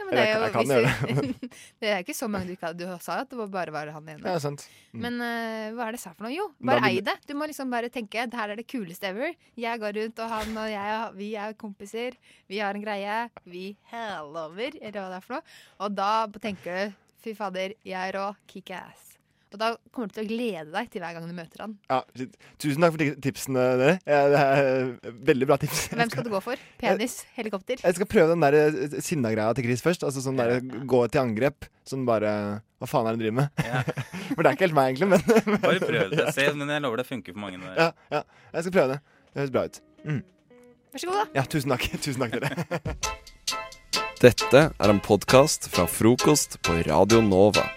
Speaker 23: Ja, men
Speaker 24: Eller
Speaker 23: det
Speaker 24: jeg
Speaker 23: er
Speaker 24: kan-
Speaker 23: jo
Speaker 24: jeg kan
Speaker 23: hvis
Speaker 24: gjøre
Speaker 23: du- det er ikke så mange du ikke hadde. Du sa at det var bare var han igjen.
Speaker 24: Ja, sant. Mm.
Speaker 23: Men eh, hva er det jeg sa for noe? Jo,
Speaker 24: Da
Speaker 23: bare
Speaker 24: blir
Speaker 23: ei
Speaker 24: det-
Speaker 23: det. Du må liksom bare tenke det her er det kuleste ever. Jeg går rundt, og han og jeg, vi er kompiser. Vi har en greie. Vi hellover, eller hva det er for noe. Og da tenker du fy fader, jeg er rå, kickass. Og da kommer du til å glede deg til hver gang du møter han.
Speaker 24: Ja, shit. Tusen takk for ti- tipsene, dere. Ja, Det er eh, veldig bra tips. Jeg
Speaker 23: Hvem skal du gå for? Penis? Helikopter?
Speaker 24: Jeg skal prøve den der eh, sinna-greia til Chris først. Altså sånn der gå til angrep. Sånn bare Hva faen er det han driver med? For det er ikke helt meg, egentlig, men
Speaker 25: Bare prøv det. Se, men jeg lover det funker for mange. det der.
Speaker 24: ja, ja, jeg skal prøve det. Det høres bra ut. Mm.
Speaker 23: Vær så god, da.
Speaker 24: Ja, tusen takk. Tusen takk, dere.
Speaker 1: Dette er en podkast fra frokost på Radio Nova.